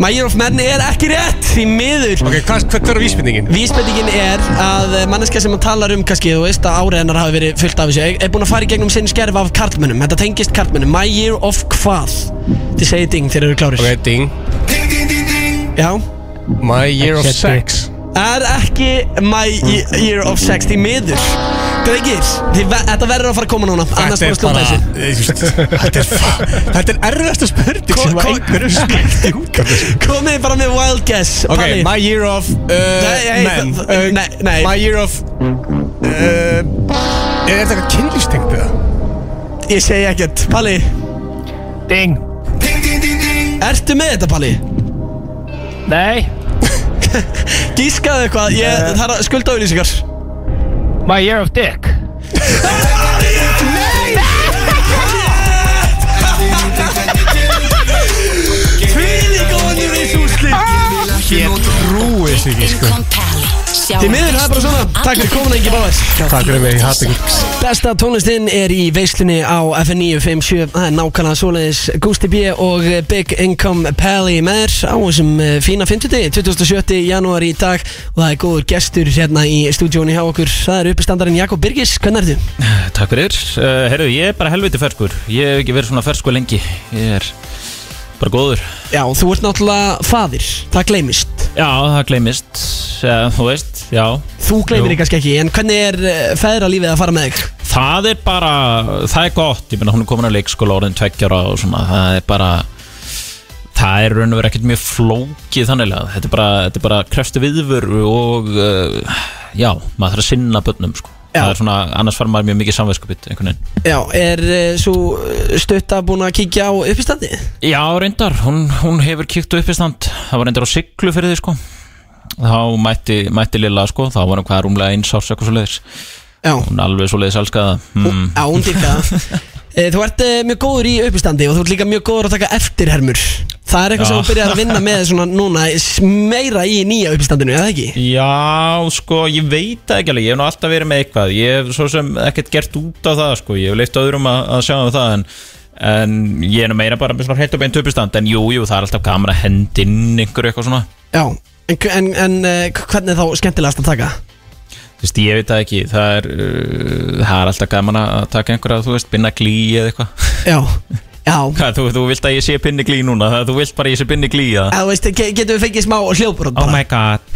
Speaker 1: My Year of Men er ekki rétt, því miður
Speaker 3: Ok, hvað hva, hva er vísbendingin?
Speaker 1: Vísbendingin er að eh, manneskja sem hann talar um kannski, þú veist að árið hennar hafi verið fullt af þessu er búin að fara í gegnum sinn skerf af karlmönnum þetta tengist karlmönnum, my year of hvað þið segið ding þegar eru klárir
Speaker 3: Ok, ding
Speaker 1: já,
Speaker 3: My year of
Speaker 2: Shit,
Speaker 3: sex
Speaker 1: er ekki my ye- year of sex því miður Drengir, þið ve- þetta verður að fara að koma núna annars bara slúta þessu
Speaker 3: Eh, Þetta er fa- Þetta er erfiðasta spurning
Speaker 1: Ko-
Speaker 3: sem
Speaker 1: ko-
Speaker 3: að einhverju sklætt í útgöndu
Speaker 1: komið bara með wild guess
Speaker 3: Ok,
Speaker 1: Palli.
Speaker 3: my year of uh,
Speaker 1: nei,
Speaker 3: men
Speaker 1: það- það-
Speaker 3: Uh,
Speaker 1: nei, nei.
Speaker 3: My year of uh, Er þetta eitthvað kynlýstengt við það?
Speaker 1: ég segi ekkert Palli,
Speaker 2: Ding
Speaker 1: ertu með þetta Palli?
Speaker 2: Nei
Speaker 1: Gískaðu eitthvað, ég, það er að skulda auðlýsingar
Speaker 2: My year of dick
Speaker 3: Ég trúi þessu ekki sko
Speaker 1: Því miður, það er
Speaker 6: um
Speaker 1: bara svona Takk fyrir komin Ingi Báðars
Speaker 3: Takk fyrir mig, ég hatt ykkur
Speaker 1: Besta tónlistinn er í veislunni á FN957 Það er nákvæmlega svoleiðis Gusti B og eh, Big Income Pally með þér á þessum eh, fína 50 27. janúar í dag og það er góður gestur hérna í stúdíónu hjá okkur Það er uppistandarinn Jakob Birgis, hvernig er þið?
Speaker 4: Takk fyrir, uh, herru, ég er bara helviti ferskur Ég hef ekki verið svona ferskur lengi Ég er bara góður
Speaker 1: Já, þú ert náttúrulega faðir, það gleymist
Speaker 4: Já, það gleymist, uh, þú veist, já
Speaker 1: Þú gleymir
Speaker 4: Jú.
Speaker 1: þig kannski ekki, en hvernig er eh, feðralífið að fara með þig?
Speaker 4: Það er bara, það er gott Ég meina hún er komin að leikskóla orðin tveggjara og svona Það er bara, það er raun og verið ekkert mjög flókið þannilega Þetta er bara, þetta er bara krefstu viðvör og uh, já, maður þarf að sinna börnum sko
Speaker 1: Já.
Speaker 4: Það er svona, annars fara maður mjög mikið samvegskupið einhvern veginn
Speaker 1: Já, er uh, svo stutta búin að kíkja á uppistandi?
Speaker 4: Já, reyndar, hún, hún hefur kíkt upp í stand Það var reyndar á siglu fyrir því sko Þá mætti, mætti Lilla sko Þá var hún hvað rúmlega eins árs eitthvað svo leiðis
Speaker 1: Já,
Speaker 4: Hún alveg svo leiðis elskaða mm.
Speaker 1: á hún dýrka Eh, Þú ert eh, mjög góður í uppistandi og þú ert líka mjög góður að taka eftirhermur Það er eitthvað sem
Speaker 4: Já.
Speaker 1: þú byrjar að vinna með svona núna s- meira í nýja uppistandinu, eða ekki?
Speaker 4: Já, sko, ég veit það ekki alveg Ég hef nú alltaf verið með eitthvað Ég hef svo sem ekkert gert út á það sko Ég hef leitt öðrum að, að sjá um það en En ég er nú meira bara með svona hreint og beint uppistand En jú, jú, það er alltaf gaman að henda inn einhverju eitthvað svona
Speaker 1: Já, en, hv- en, en eh, h- hvernig er þá skemmtilegast að taka?
Speaker 4: Þú veist, ég veit það ekki Það er, uh, það er alltaf gaman að taka einhverja, þú veist, binna glý eða eitthvað
Speaker 1: Já, já
Speaker 4: Hvað, þú, þú vilt að ég sé pinni glý núna? Það, þú vilt bara að ég sé pinni glý að
Speaker 1: Eða, Þú veist, ge- getum við fengið smá hljóðbrot bara
Speaker 4: god,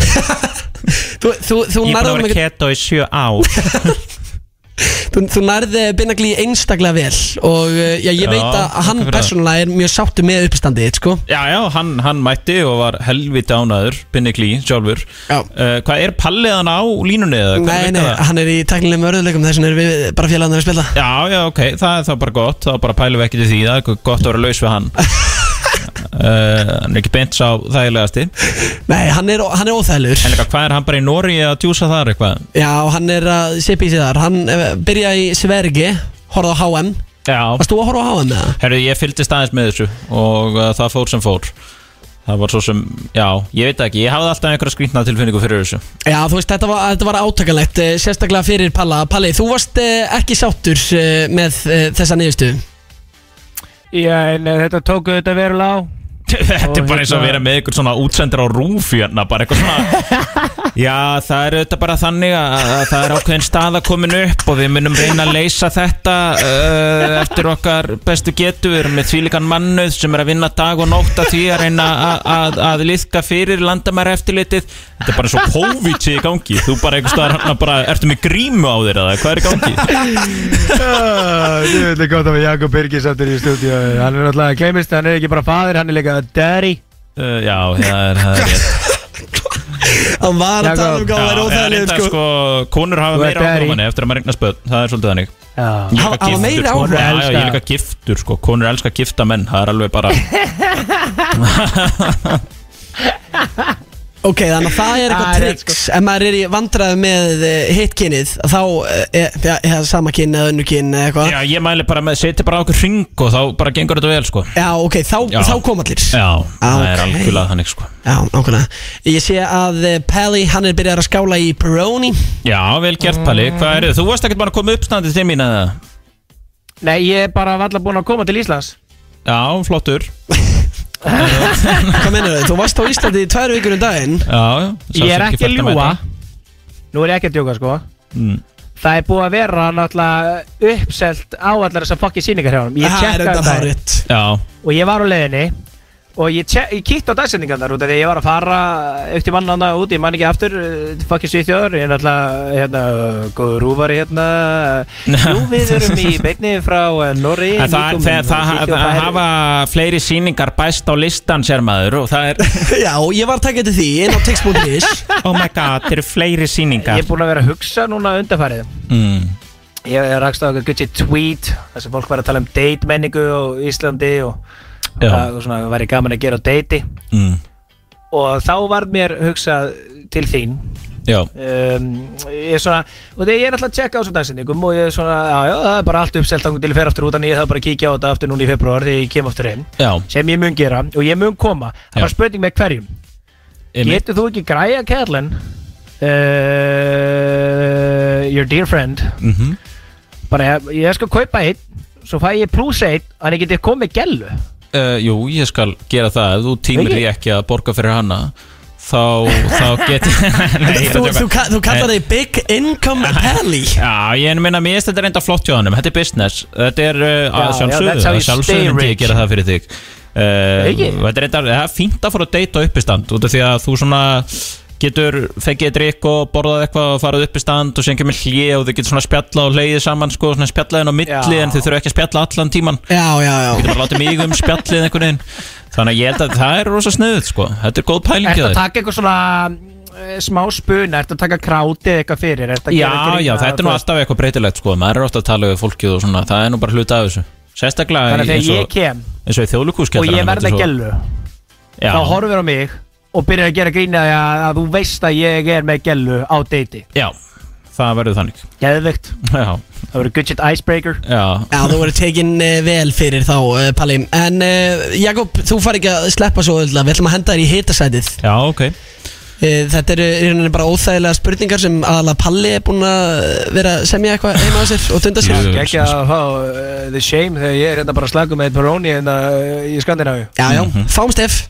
Speaker 1: Þú, þú, þú,
Speaker 4: Oh ég er búin að
Speaker 1: nærði
Speaker 4: vera
Speaker 1: mig,
Speaker 4: keto í sjö á
Speaker 1: þú, þú nærði Binnagli einstaklega vel og eh, já, ég
Speaker 4: Já,
Speaker 1: veit að hann
Speaker 4: takk fyrir það.
Speaker 1: persónulega er mjög sáttu með uppistandið, þitt, sko
Speaker 4: Já, já, hann, hann mætti og var helviti ánaður Binni glý, sjálfur
Speaker 1: Já.
Speaker 4: uh, Hvað, er palliðan á línunni eða? hvernig
Speaker 1: Nei,
Speaker 4: virkar
Speaker 1: nei,
Speaker 4: það?
Speaker 1: hann er í tæknilegum örðuleikum þess vegna erum við bara félagarnir að spila
Speaker 4: Já, já, ok, það er þá bara gott Þá bara pælum við ekki til því, það er gott að vera laus við hann uh, Hann er ekki beint sá þægilegasti En
Speaker 1: Nei, hann er, hann er óþægilegur
Speaker 4: líka, hvað er hann bara í Nóri að djúsa þar eitthvað?
Speaker 1: Já, hann er að sipa í sig þar Hann eh, byrjaði í Svergi, horfði á HM
Speaker 4: Já,
Speaker 1: Varst þú að horfa á HM eða?
Speaker 4: Herru, ég fylgdist aðeins með þessu og uh, það fór sem fór það var svo sem, já, ég veit það ekki, ég hafði alltaf einhverja skrýtna tilfinningu fyrir þessu
Speaker 1: Já, þú veist, þetta var, þetta var átakalegt eh, Sérstaklega fyrir Palla Palli, þú varst eh, ekki sáttur eh, með eh, þessa niðurstöðu
Speaker 2: Já, en eh, þetta tók auðvitað verulega á
Speaker 4: Þetta er bara eins og
Speaker 2: hérna-
Speaker 4: að vera með einhvern svona útsendur á rúf hérna, bara eitthvað svona Já, það er auðvitað bara þannig að, að það er ákveðin staða komin upp og við munum reyna að leysa þetta uh, eftir okkar bestu getu við erum með þvílíkan mannuð sem er að vinna dag og nótt að því að reyna að, að, að liðka fyrir landamæra eftirlitið Þetta er bara eins og COVID sé í gangi þú bara einhvers staðar hérna bara, ertu með grímu á þér eða hvað er í gangi?
Speaker 2: Þú Ah, veit ekki gott að við Jakob Birgis aftur í stúdíu Hann er náttúrulega kemist, hann er ekki bara fadir, hann er líka daddy
Speaker 4: Uh, já, það er, það er rétt
Speaker 1: Hann var að tala um hvað það er
Speaker 4: Já,
Speaker 1: óþægilegt
Speaker 4: reyndar,
Speaker 1: sko.
Speaker 4: sko, konur hafa
Speaker 2: Þú ert
Speaker 4: meira áhuga
Speaker 2: berry.
Speaker 4: á manni eftir að maður regnast börn, það er svolítið þannig
Speaker 2: Já
Speaker 4: Ég er
Speaker 1: Hafa-
Speaker 4: líka
Speaker 1: hafa
Speaker 4: giftur,
Speaker 1: meira
Speaker 4: sko.
Speaker 1: áhuga?
Speaker 4: Já, já, ég er
Speaker 2: Elska.
Speaker 4: líka giftur, sko, konur elskar gifta menn það er alveg bara,
Speaker 1: Ok, þannig að það er sko.
Speaker 2: Það
Speaker 1: eitthvað
Speaker 2: er rétt,
Speaker 1: tricks Ef maður er í vandræðu með eh, hitt kynið Þá, eh, ja, ja, sama kyn eða önnu kyn eða eitthvað
Speaker 4: já, ég mæli bara með setja bara á okkur hring og þá bara gengur þetta vel, sko
Speaker 1: Já, ok, þá,
Speaker 4: Já.
Speaker 1: þá kom allir
Speaker 4: Já, það
Speaker 1: ok.
Speaker 4: er algjörlega þannig, sko
Speaker 1: Já, ákveðna Ég sé að eh, Pally, hann er byrjað að skála í Peroni
Speaker 4: Já, vel gert, Palli,
Speaker 2: Mm.
Speaker 4: hvað er þið? Þú varst ekkert bara að koma uppstandið til mín eða?
Speaker 2: Nei, ég er bara valla búin að koma til Íslands
Speaker 4: Já, flottur Já,
Speaker 1: Hvað mennur þau? Þú varst á Íslandi í tvær vikur um daginn
Speaker 4: já,
Speaker 2: Ég er ekki að
Speaker 4: fælt
Speaker 2: ljúa
Speaker 4: mæta.
Speaker 2: Nú er ég ekki að djóka sko
Speaker 4: Mm.
Speaker 2: Það er búið að vera náttúrulega uppselt á allar þessar fokki síningar hjá hann Ég
Speaker 1: Það er
Speaker 2: tjekkaði
Speaker 1: auðvitað
Speaker 2: það
Speaker 1: hárétt
Speaker 4: Já,
Speaker 2: og ég var á leiðinni og ég, tjek- ég kíkti á dagsendingarnar út af því að ég var að fara eftir mannana út, ég man ekki aftur eh, fucking sviðþjóður, ég er náttúrulega hérna, góður rúfari hérna Jú, við erum í beinni frá eh, Norri
Speaker 4: En það, það, það, það, það hafa fleiri síningar bæst á listan sér maður og það er
Speaker 1: Já, ég var að taka eftir því inn á text.is
Speaker 4: Oh my god, þeir eru fleiri
Speaker 2: Ég
Speaker 4: síningar
Speaker 2: er búin að vera að hugsa núna undanfarið
Speaker 4: mm.
Speaker 2: Ég rakst á eitthvað guttið tweet þar sem fólk var að tala um date menningu á Íslandi og
Speaker 4: Já.
Speaker 2: hvað svona væri gaman að gera á deiti
Speaker 4: Mm.
Speaker 2: og þá var mér hugsað til þín
Speaker 4: Já,
Speaker 2: um, ég er svona og þegar ég er alltaf að tjekka á þessum dagsendingum og ég er svona, já, já, það er bara allt uppselt þangum til ég fer aftur út, en ég þarf bara að kíkja á þetta aftur núna í februar þegar ég kem aftur heim,
Speaker 4: já
Speaker 2: sem ég mun gera og ég mun koma, það
Speaker 4: Já.
Speaker 2: var spurning með hverjum
Speaker 4: einmitt.
Speaker 2: getur þú ekki græja kærlen uh, your dear friend
Speaker 4: Mhm.
Speaker 2: bara, ég, ég skal kaupa einn svo fæ ég pluss einn, hann ég geti komið gellu
Speaker 4: Uh, Jú, ég skal gera það Ef þú tímir
Speaker 2: Ekki?
Speaker 4: því ekki að borga fyrir hana Þá, þá get Nei, ég er
Speaker 1: Þú,
Speaker 4: að
Speaker 1: þú,
Speaker 4: tjóka
Speaker 1: ka- þú kallar þig Big Income Pally
Speaker 4: Já, ég meina, mér finnst þetta reynda flott hjá hannum Þetta er business, þetta er uh, að
Speaker 2: já,
Speaker 4: sjálfsögðu
Speaker 2: that's how
Speaker 4: að
Speaker 2: you stay
Speaker 4: Sjálfsögðu myndi ég
Speaker 2: rich.
Speaker 4: gera það fyrir þig uh,
Speaker 2: Ekki?
Speaker 4: Þetta er reynda, það er fínt að fara að deyta uppistand Út af því að þú svona getur fengið drikk og borðað eitthvað og farað uppistand og sen kemur hlið og þið getur svona spjalla og leiðið saman sko, svona spjallaðin á milli
Speaker 2: Já.
Speaker 4: en þið þurfa ekki að spjalla allan tíman
Speaker 1: Já, já, já
Speaker 4: getur bara látið mig um spjallið einhvern veginn þannig að ég held að það er rosa sniðut sko. þetta er góð pæling
Speaker 2: Ertu
Speaker 4: hjá
Speaker 2: að
Speaker 4: þér
Speaker 2: taka eitthvað svona eh, smá spuna, ertu að taka krátið eitthvað fyrir Ertu að
Speaker 4: já,
Speaker 2: gera grín
Speaker 4: já,
Speaker 2: að-
Speaker 4: þetta er nú alltaf eitthvað breytilegt sko. maður er ofta að tala við fólkið og svona það er nú bara hluta af þessu sérstaklega
Speaker 2: Þannig að
Speaker 4: í- eins
Speaker 2: þegar ég
Speaker 4: og,
Speaker 2: kem
Speaker 4: eins og í
Speaker 2: og
Speaker 4: þjóðlíkúskjallar
Speaker 2: ég verð að gellu
Speaker 4: já,
Speaker 2: þá horfir á mig og byrjar að gera grín að, að þú veist að ég er með gellu á deiti
Speaker 4: já, það verður þannig
Speaker 2: Geðvegt,
Speaker 4: já,
Speaker 2: það verður good shit icebreaker
Speaker 4: já,
Speaker 1: Já, þú verður tekin eh, vel fyrir þá, eh, Palli En eh, Jakob, þú far ekki að sleppa svo öll Við ætlum að henda þér í hitasætið
Speaker 4: já, ok
Speaker 1: Eh, Þetta eru í rauninni bara óþægilega spurningar sem aðalega Palli er búinn að vera að semja eitthvað heima á sér og dunda sér
Speaker 4: Jú.
Speaker 2: Ekki að fá uh, the shame þegar ég er hérna bara að slaka með Peroni en að uh, í Skandinavíu
Speaker 1: Já, já,
Speaker 4: Mhm.
Speaker 1: fáum stef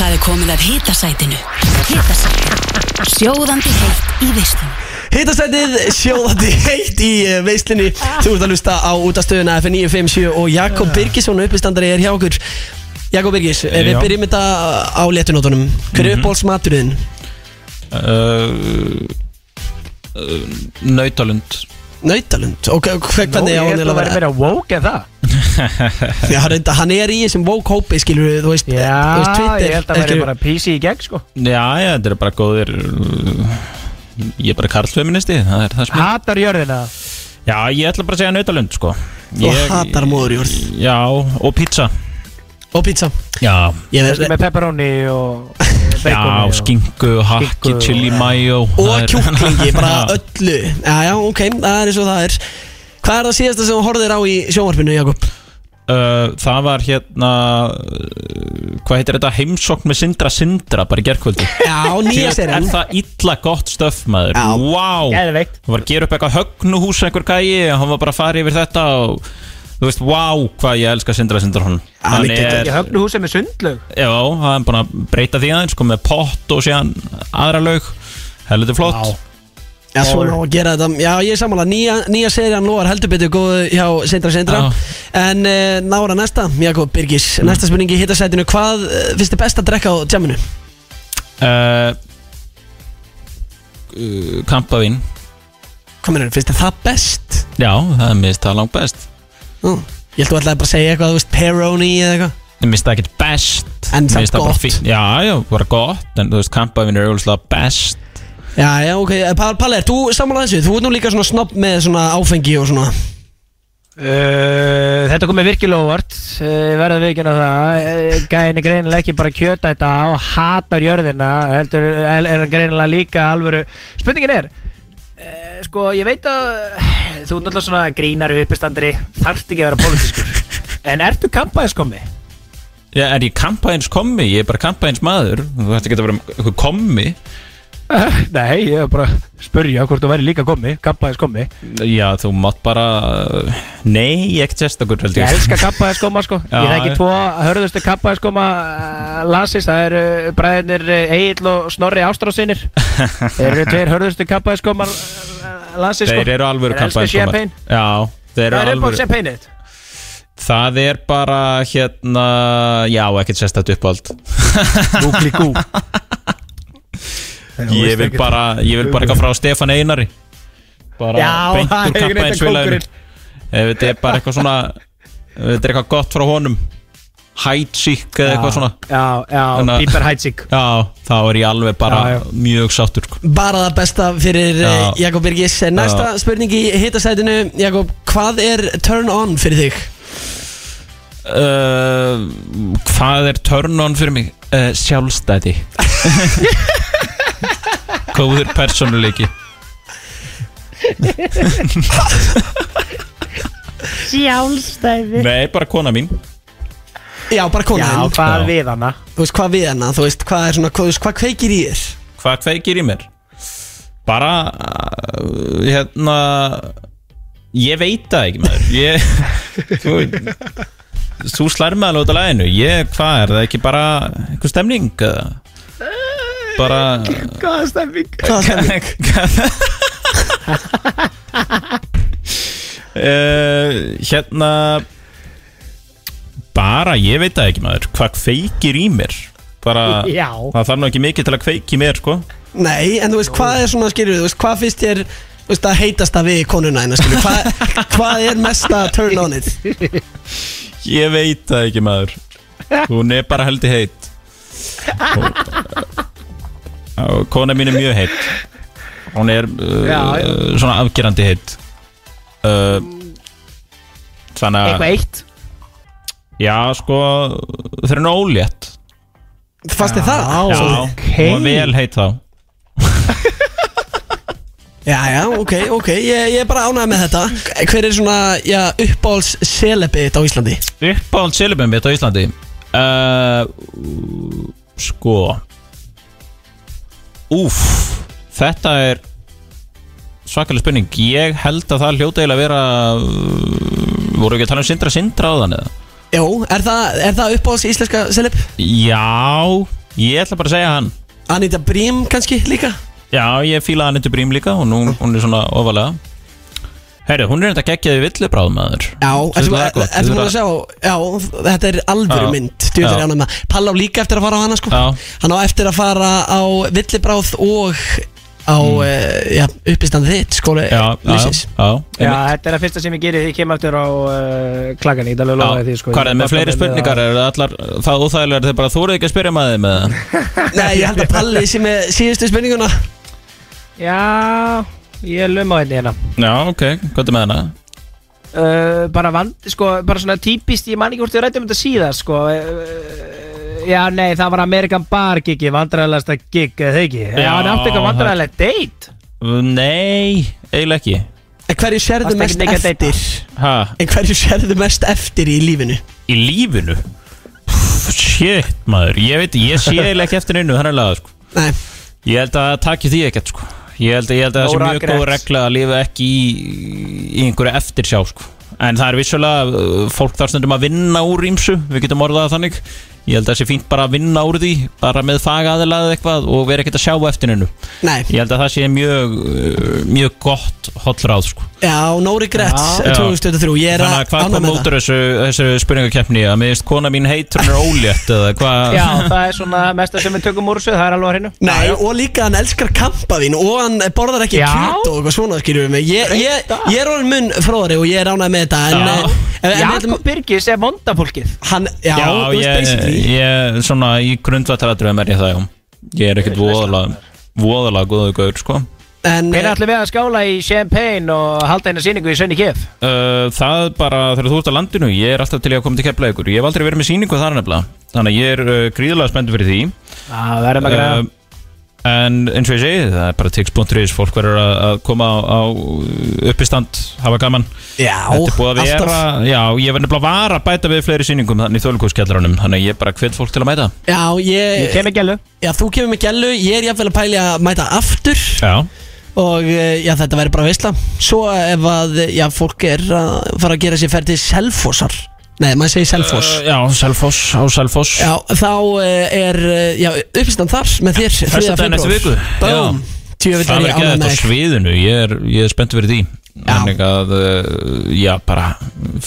Speaker 6: Það er komið að hitasætinu Hitasætinu Sjóðandi heitt í veistum
Speaker 1: Hittastætið sjóðandi heitt í eh, veislinni Þú ert að lusta á útastöðuna F957 og Jakob Birgisson uppistandari er hjá okkur Jakob Birgis, eh, við
Speaker 4: Já. Mhm.
Speaker 1: byrjum þetta á letunótunum Hver er uppbólsmaturinn?
Speaker 4: uh, uh, nautalund
Speaker 1: Nautalund, og hver- hver-
Speaker 2: Nú,
Speaker 1: hvernig á
Speaker 2: Ég
Speaker 1: hann
Speaker 2: held
Speaker 1: eiginlega
Speaker 2: að
Speaker 1: að
Speaker 2: vera
Speaker 1: vera?
Speaker 2: meira woke en það
Speaker 1: Já, reynda, hann er í þessum woke hópi, skilur þú veist,
Speaker 2: Já,
Speaker 1: þú veist Twitter,
Speaker 2: ég held að vera
Speaker 1: skilurðu.
Speaker 2: bara PC í gegn sko
Speaker 4: já, já, þetta er bara góðir uh, ég er bara karlfeministi það er það sem ég
Speaker 2: Hatar jörðina
Speaker 4: Já, ég ætla bara að segja nautalund, sko
Speaker 1: Þú hatar móðurjörð.
Speaker 4: Já, og pizza
Speaker 1: Og pizza
Speaker 4: Já,
Speaker 1: Ég
Speaker 2: Þessi
Speaker 1: verð
Speaker 2: með pepperoni og
Speaker 4: já
Speaker 2: bacon
Speaker 4: skingu, hakki,
Speaker 2: Skinku,
Speaker 4: chili,
Speaker 2: já.
Speaker 4: mayo það
Speaker 1: Og
Speaker 4: er-
Speaker 1: kjúklingi, bara
Speaker 4: Já.
Speaker 1: öllu Já, já, ok, það er eins og það er Hvað er það síðasta sem þú horfðir á í sjónvarpinu, Jakob?
Speaker 4: uh, það var hérna uh, hvað heitir þetta heimsókn með Sindra Sindra bara í gerkvöldi
Speaker 1: Já, nýja
Speaker 4: er
Speaker 1: serien
Speaker 4: það illa gott stöf maður
Speaker 1: Já.
Speaker 4: wow.
Speaker 2: Geðveikt.
Speaker 4: hann var að gera upp eitthvað högnuhús einhver gæi hann var bara að fara yfir þetta og þú veist, wow, hvað ég elska Sindra Sindra hann, hann
Speaker 1: líka
Speaker 4: er,
Speaker 2: Ég höfnu húsið með sundlög
Speaker 4: já, hann er búin að breyta því aðeins sko, með pott og síðan aðra laug heldur flott
Speaker 1: Já, svona á að gera þetta Já, ég er sammála Nýja, nýja serien loðar heldur betur góðu hjá Sindra Sindra
Speaker 4: Já.
Speaker 1: En uh, nára næsta, Jakob Birgis Næsta spurningi hitta sætinu Hvað uh, finnst þið best að drekka á tjáminu? Eh,
Speaker 4: uh, uh, Kampavín
Speaker 1: Hvað mennur, finnst þið það best?
Speaker 4: Já, það er mist það langt best
Speaker 1: Uh, ég held þú ætlaði bara að segja eitthvað, þú veist, Peroni eða eitthvað
Speaker 4: Ég mist það ekkert best
Speaker 1: En
Speaker 4: Mér
Speaker 1: samt
Speaker 4: finnst það bara
Speaker 1: gott.
Speaker 4: fínt. Já, já, bara gott En þú veist, kampavín er auðvitað best
Speaker 1: Já, já, ok, Eh, Pall, Pall er, þú sammála þessu Þú ert nú líka svona snobb með svona áfengi og svona
Speaker 2: Uh, þetta kom með virkilega óvart uh, verða viðkynna það uh, gæðin er greinilega ekki bara kjöta þetta og hatar jörðina heldur, er er hann greinilega líka alvöru spurningin er uh, sko ég veit að uh, þú er náttúrulega svona grínari uppistandri þarft ekki að vera pólitískur en ertu kampaðiskomi?
Speaker 4: Já, er ég kampavíns kommi? Ég er bara kampavíns maður Þú ætti ekki að vera eitthvað kommi
Speaker 2: Uh, nei, ég er bara að spurja hvort þú væri líka komi, kampaðiskomi
Speaker 4: Já, þú mátt bara Nei, ég ekkert sérstakur held
Speaker 2: Ég
Speaker 4: ég
Speaker 2: elska kappaðiskóma sko
Speaker 4: Já,
Speaker 2: Ég þekki
Speaker 4: já.
Speaker 2: tvo hörðustu kappaðiskóma uh, landsins Það eru uh, bræðinir Egil og Snorri Ástrásinir Þeir eru tveir hörðustu kappaðiskóma landsins sko
Speaker 4: Þeir eru alvöru
Speaker 2: Þeir elska
Speaker 4: kampavínskomar.
Speaker 2: champagne.
Speaker 4: Já, þeir
Speaker 2: Það
Speaker 4: eru
Speaker 2: er upp á
Speaker 4: alvöru
Speaker 2: champagne þitt
Speaker 4: Það er bara hérna Já, ekkert sérstakur uppáld
Speaker 2: Gúkli gú
Speaker 4: Ég vil bara, ég vil bara eitthvað frá Stefán Einari bara
Speaker 2: um Já,
Speaker 4: beint
Speaker 2: það
Speaker 4: úr
Speaker 2: er reyndar
Speaker 4: kampaðinsfélaginu
Speaker 2: kóngurinn.
Speaker 4: ef þetta er bara eitthvað svona ef þetta er eitthvað gott frá honum hætsík eða eitthvað svona
Speaker 2: Já, já,
Speaker 4: Þannig að-
Speaker 2: Píper Hætsík
Speaker 4: já, þá er ég alveg bara
Speaker 2: Já, já.
Speaker 4: mjög sáttur sko.
Speaker 1: Bara það besta fyrir já.
Speaker 4: Já.
Speaker 1: Jakob Birgis En Næsta spurning í hittasætinu Jakob, hvað er turn on fyrir þig?
Speaker 4: uh, hvað er turn on fyrir mig? Uh, sjálfstæði góður persónuleiki
Speaker 7: Sjálfstæði
Speaker 4: nei, bara kona mín
Speaker 1: Já, bara
Speaker 2: Já,
Speaker 1: konan
Speaker 2: hvað
Speaker 4: Já.
Speaker 2: við hana
Speaker 1: Þú veist hvað við hana, þú veist hvað er svona Hvað, þú veist, hvað kveikir í þér?
Speaker 4: hvað kveikir í mér bara uh, hérna ég veit það ekki maður ég, þú, þú slær með alveg út af læginu ég, hvað er það ekki bara einhver stemning eða? bara
Speaker 2: Hvaða stemming
Speaker 1: Hvað er það?
Speaker 4: uh, hérna bara ég veit það ekki maður hvað kveikir í mér bara
Speaker 2: Já.
Speaker 4: það þarf nú ekki mikið til að kveiki í mér sko
Speaker 1: Nei, en þú veist hvað er svona skilur Þú veist hvað finnst þér Þú veist að heitast að við konuna hennar skilur hvað, hvað er mesta turn on it?
Speaker 4: Ég veit það ekki maður Hún er bara heldur heitt og, og Kona mín er mjög heitt Hún er uh,
Speaker 2: Já, já.
Speaker 4: svona afgerandi heitt uh, Þannig
Speaker 2: Eitthvað
Speaker 4: að
Speaker 2: eitt
Speaker 4: Já sko Þeir eru nú ólétt
Speaker 1: Fannst þér það?
Speaker 4: Já,
Speaker 1: Svo-
Speaker 4: hún var vel heitt þá
Speaker 1: já, já, ok, ok Ég, ég er bara ánægð með þetta Hver er svona, já, uppáhalds selebi á Íslandi?
Speaker 4: Uppáhald silibum mitt á Íslandi uh, Sko Úf Þetta er svakalega spurning Ég held að það hljóta eiginlega að vera uh, Voru ekki að tala um Sindra Sindra á þann eða?
Speaker 1: Jó, er það, er það uppáhalds íslenska seleb?
Speaker 4: Já Ég ætla bara að segja hann
Speaker 1: Anita Brím kannski líka?
Speaker 4: Já, ég fíla hann eitthvað brím líka og nú, hún er svona ofalega Herru, hún er þetta geggjaði villibráð maður
Speaker 1: Já,
Speaker 4: Þetta
Speaker 1: ertu
Speaker 4: er gott,
Speaker 1: ertu
Speaker 4: þetta
Speaker 1: búin
Speaker 4: er-
Speaker 1: að sjá Já, þetta er alvöru
Speaker 4: Já.
Speaker 1: mynd Djúður
Speaker 4: Já.
Speaker 1: ánægð með það. Pall á líka eftir að fara á hana sko
Speaker 4: Já.
Speaker 1: Hann á eftir að fara á Villibráð og á mm. já, uppistand þitt skóli
Speaker 4: Já, já, já,
Speaker 1: lífsins.
Speaker 4: já,
Speaker 2: Já,
Speaker 4: einmitt.
Speaker 2: þetta er að fyrsta sem ég gerir Ég kem aftur á uh, klagan Ég get alveg lofaði því
Speaker 4: Já,
Speaker 2: sko
Speaker 4: Hvað er það með fleiri spurningar? Er það allar það óþægilegar þegar bara þú eru ekki að spyrja maður með það?
Speaker 1: Nei, ég held að Palli sé með síðustu spurninguna
Speaker 2: Já, ég er löm á henni hérna
Speaker 4: Já, ok, hvað er með hana?
Speaker 2: uh, bara vandi, sko, bara svona típist ég man ekki hvort við rættum þetta síðast sko uh, já, nei, það var Amerikan Bar gigi, vandræðalegasta gig eða það ekki, já,
Speaker 4: Já,
Speaker 2: hann átti eitthvað vandræðalegt date
Speaker 4: Nei, eiginlega ekki
Speaker 1: En hverju sérðu
Speaker 2: Varstu
Speaker 1: mest
Speaker 2: ekki mikið að deyta?
Speaker 1: eftir?
Speaker 4: ha,
Speaker 1: En hverju sérðu mest eftir í lífinu?
Speaker 4: í lífinu Pff, shit maður, ég veit ég sé eiginlega ekki eftir einu þannig að sko.
Speaker 1: Nei,
Speaker 4: ég held að það taki því ekkert sko. ég held, ég held að það sé
Speaker 2: No
Speaker 4: mjög góð
Speaker 2: regrets.
Speaker 4: regla að lifa ekki í, í einhverju eftirsjá sko. en það er vissulega uh, fólk þar stundum að vinna úr ímsu við getum orðað það þannig ég held að það sé fínt bara að vinna úr því bara með fagaðilega eitthvað og vera ekkert að sjá eftir einu
Speaker 1: nei,
Speaker 4: ég held að það sé mjög uh, mjög gott hollráð sko.
Speaker 1: já, no regrets
Speaker 4: Já.
Speaker 1: 2023, ég er
Speaker 4: Þannig að
Speaker 1: að
Speaker 4: hvað
Speaker 1: ánægð
Speaker 4: kom
Speaker 1: með
Speaker 4: út úr þessu, þessu spurningakeppni að miðist kona mín heitur hún er ólétt eða hvað
Speaker 2: Já, það er svona mesta sem við tökum úr þessu, það er alveg að hreinu
Speaker 1: Nei, og líka hann elskar kampavín og hann borðar ekki
Speaker 2: Já.
Speaker 1: kjöt og eitthvað svona skilur við mig Ég, ég, ég er orðin mun fróðari og ég er ánægð með þetta en, eh,
Speaker 4: Já.
Speaker 1: en, en, en,
Speaker 2: Jakob Birgis er vondapólkið
Speaker 1: hann, já,
Speaker 4: Já,
Speaker 1: þú veist
Speaker 4: ég,
Speaker 1: basically
Speaker 4: ég svona í grundvallaradröðum er ég það já Ég er ekkert voðalega voðalega góðu gaur sko
Speaker 1: En,
Speaker 2: Hvernig
Speaker 1: eh,
Speaker 2: ætlum við að skála í champagne og halda eina síningu í Sönni Kef?
Speaker 4: Uh, það bara þegar þú ert á landinu ég er alltaf til í að koma til keppleikur ég hef aldrei verið með sýningu þar nefnilega þannig að ég er uh, gríðlega spenntur fyrir því
Speaker 2: Það verðum að græða
Speaker 4: uh, en eins og ég segi það er bara tix.is fólk verður að, að koma á, á uppistand hafa gaman
Speaker 1: Já,
Speaker 4: Þetta er búið að vera,
Speaker 1: alltaf
Speaker 4: já, ég verði nefnilega að vara að bæta við fleiri sýningum þannig í þjóðlugurskjallarunum þannig að ég bara hvet fólk til að mæta
Speaker 1: Já, ég,
Speaker 2: Ég kem ekki alveg
Speaker 1: já, þú kemur með gælu, ég er jafnvel að pæli að mæta aftur
Speaker 4: Já,
Speaker 1: og eh, já, þetta verður bara veisla Svo ef að, já, fólk er að fara að gera sér ferð til Selfossar Nei, maður segir Selfoss
Speaker 4: Uh, já Selfoss, á Selfoss
Speaker 1: Já, þá eh, er eh, já, uppistand þar með þér þriðja febrúar.
Speaker 4: Föstudaginn næstu viku.
Speaker 1: Búm. Djöfull
Speaker 4: Það
Speaker 1: er
Speaker 4: verður
Speaker 1: ég
Speaker 4: ekki
Speaker 1: ánægð
Speaker 4: þetta á
Speaker 1: með þig.
Speaker 4: sviðinu, ég er, ég er spennt fyrir því Þannig að, uh, já, bara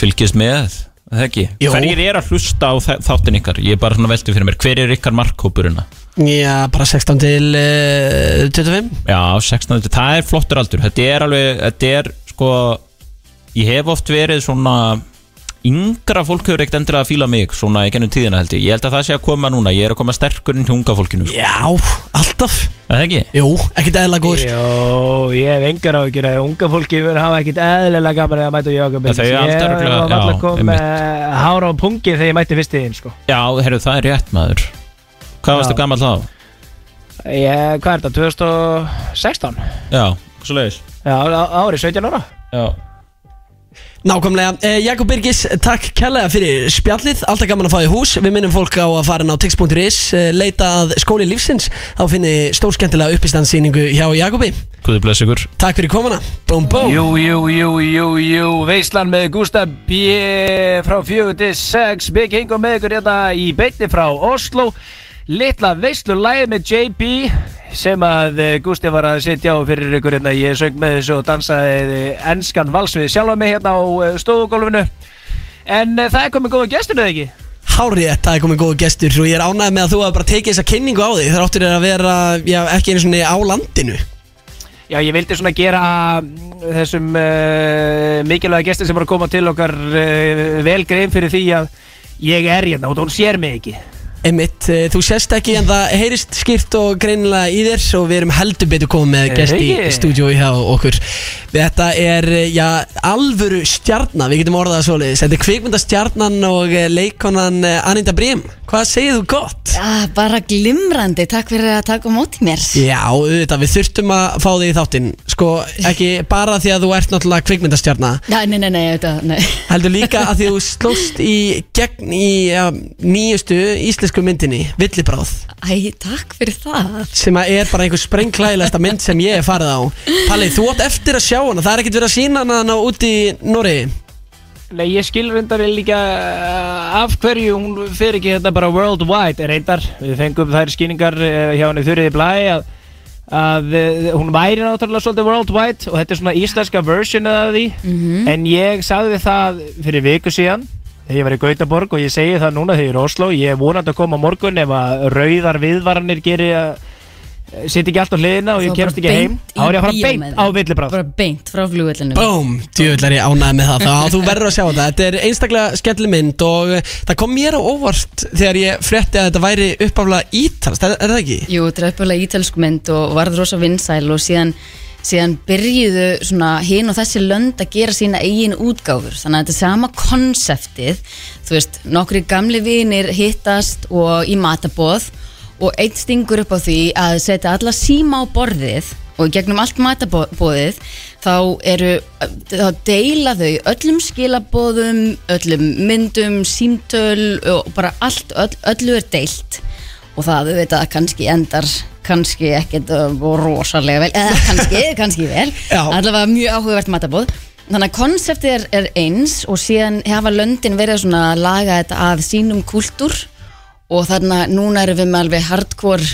Speaker 4: fylgist með Það ekki
Speaker 1: Jú.
Speaker 4: Hverjir er að hlusta á þa- þáttinn ykkar? Ég er bara svona velti fyrir mér, hver er ykkar markhópurina?
Speaker 1: Já, bara 16 til uh, 25
Speaker 4: Já, 16, það er flottur aldur Þetta er alveg, þetta er sko Ég hef oft verið svona Yngra fólk hefur ekkert endur að fíla mig Svona í gennum tíðina held ég Ég held að það sé að koma núna, ég er að koma sterkur inn til unga fólkinu sko.
Speaker 1: Já, alltaf
Speaker 4: Er Það ekki?
Speaker 1: Jú, ekkert eðla góður
Speaker 2: Jó, ég hef engar áhyggjur að unga fólki verður hafa ekkit eðlilega gaman að mæta Jakob Birgis
Speaker 4: Það er
Speaker 2: Ég
Speaker 4: alltaf örugglega-
Speaker 2: var alltaf
Speaker 4: já,
Speaker 2: kom eh, hára á pungi þegar ég mætti fyrst í þinn sko.
Speaker 4: Já, herru, það er rétt maður Hvað varstu
Speaker 2: Já.
Speaker 4: gammal þá?
Speaker 2: ég, Hvað er þetta, 2016?
Speaker 4: Já, svo leiðis
Speaker 2: Já, á- árið 17 ára
Speaker 4: Já
Speaker 1: Nákvæmlega, eh, Jakob Birgis, takk kærlega fyrir spjallið Alltaf gaman að fá í hús Við minnum fólk á að fara inn á tix.is eh, Leita að skóli lífsins Þá finni stórskemmtilega uppistandsýningu hjá Jakobi
Speaker 4: Guði bless ykkur
Speaker 1: Takk fyrir komuna, búm búm
Speaker 2: Jú, jú, jú, jú, jú Veislan með Gustaf B frá 46 Big Hingo með ykkur hérna í beinni frá Oslo Litla veislu lægið með JB sem að eh, Gústi var að sitja á fyrir ykkur hérna ég söng með þessu og dansaði eh, enskan vals við sjálfa mig hérna á eh, stofugólfinu en eh, það er komið góða gestur eða ekki?
Speaker 1: Hárið, það er komið góð gestur og ég er ánægð með að þú hafa bara tekið þessa kynningu á þig þar áttur er að vera, já, ekki einu svona á landinu
Speaker 2: Já, ég vildi svona gera mm, þessum uh, mikilvæga gestur sem var að koma til okkar uh, vel grein fyrir því að ég er hérna og hún sér mig ekki
Speaker 1: Einmitt, eh, þú sést ekki en það heyrist skýrt og greinilega í þér og við erum heldur betur komið með
Speaker 2: Eh,
Speaker 1: gest í
Speaker 2: ekki.
Speaker 1: stúdíu hjá okkur Þetta er, eh, já, alvöru stjarnan, við getum orðað það svoleiðis Þetta er kvikmyndastjarnan og eh, leikonan eh, Aninda Brím Hvað segir þú gott?
Speaker 8: Já, bara glimrandi, takk fyrir að taka á móti mér
Speaker 1: Já, auðvitað, við þurftum að fá þig í þáttinn Sko, ekki bara því að þú ert náttúrulega kvikmyndastjarna
Speaker 8: Já, nei, nei, nei, þetta, nei
Speaker 1: Heldur líka að því þú slóst í gegn í um, nýjustu íslensku myndinni, Villibráð
Speaker 8: Æ, takk fyrir það
Speaker 1: sem að er bara einhver sprengklæðilegasta mynd sem ég hef farið á Palli, þú átt eftir að sjá hana, það er ekkert verið að sína hana hana út í Norri
Speaker 2: Nei, ég skil reyndar líka eh, af hverju hún fer ekki þetta bara worldwide reyndar. Við fengum þær skýningar eh, hjá henni Þurriði Blæ að, að eh, hún væri náttúrulega svolítið worldwide og þetta er svona íslenska version af því.
Speaker 8: Mhm.
Speaker 2: En ég sagði það fyrir viku síðan þegar ég var í Gautaborg og ég segi það núna þegar ég er í Oslo. Ég er vonandi að koma á morgun ef að rauðar viðvaranir gerir að sitt ekki allt á hliðina og ég
Speaker 8: Þá bara
Speaker 2: kemst ekki heim.
Speaker 8: beint í
Speaker 2: Þá er ég að fara
Speaker 8: bíó
Speaker 2: beint
Speaker 8: með
Speaker 2: á
Speaker 8: þig.
Speaker 2: villibráð.
Speaker 8: Bara beint frá flugvöllinu
Speaker 1: Bóm, djöðlar ég ánæði með það þá, þú verður að sjá þetta, þetta er einstaklega skemmtileg mynd og eh, það kom mér á óvart þegar ég frétti að þetta væri uppáflega ítalst, er, er það ekki?
Speaker 8: Jú, þetta er uppalega ítalsku mynd og varð rosa vinsæl og síðan, síðan byrjuðu svona hinn og þessi lönd að gera sína eigin útgáfur þannig að þetta er sama konseptið þú veist, nokkri gamli vinir hittast og í matabóð og einn stingur upp á því að setja alla síma á borðið og í gegnum allt matabóðið þá eru, þá deila þau öllum skilabóðum, öllum myndum, símtöl og bara allt, öll, öllu er deilt og það auðvitað kannski endar kannski ekkert uh, rosalega vel eða kannski, kannski vel
Speaker 1: Já.
Speaker 8: allavega mjög áhugavert matabóð þannig að konseptið er, er eins og síðan hafa löndin verið svona að laga þetta að sínum kúltúr og þannig að núna erum við með alveg hardcore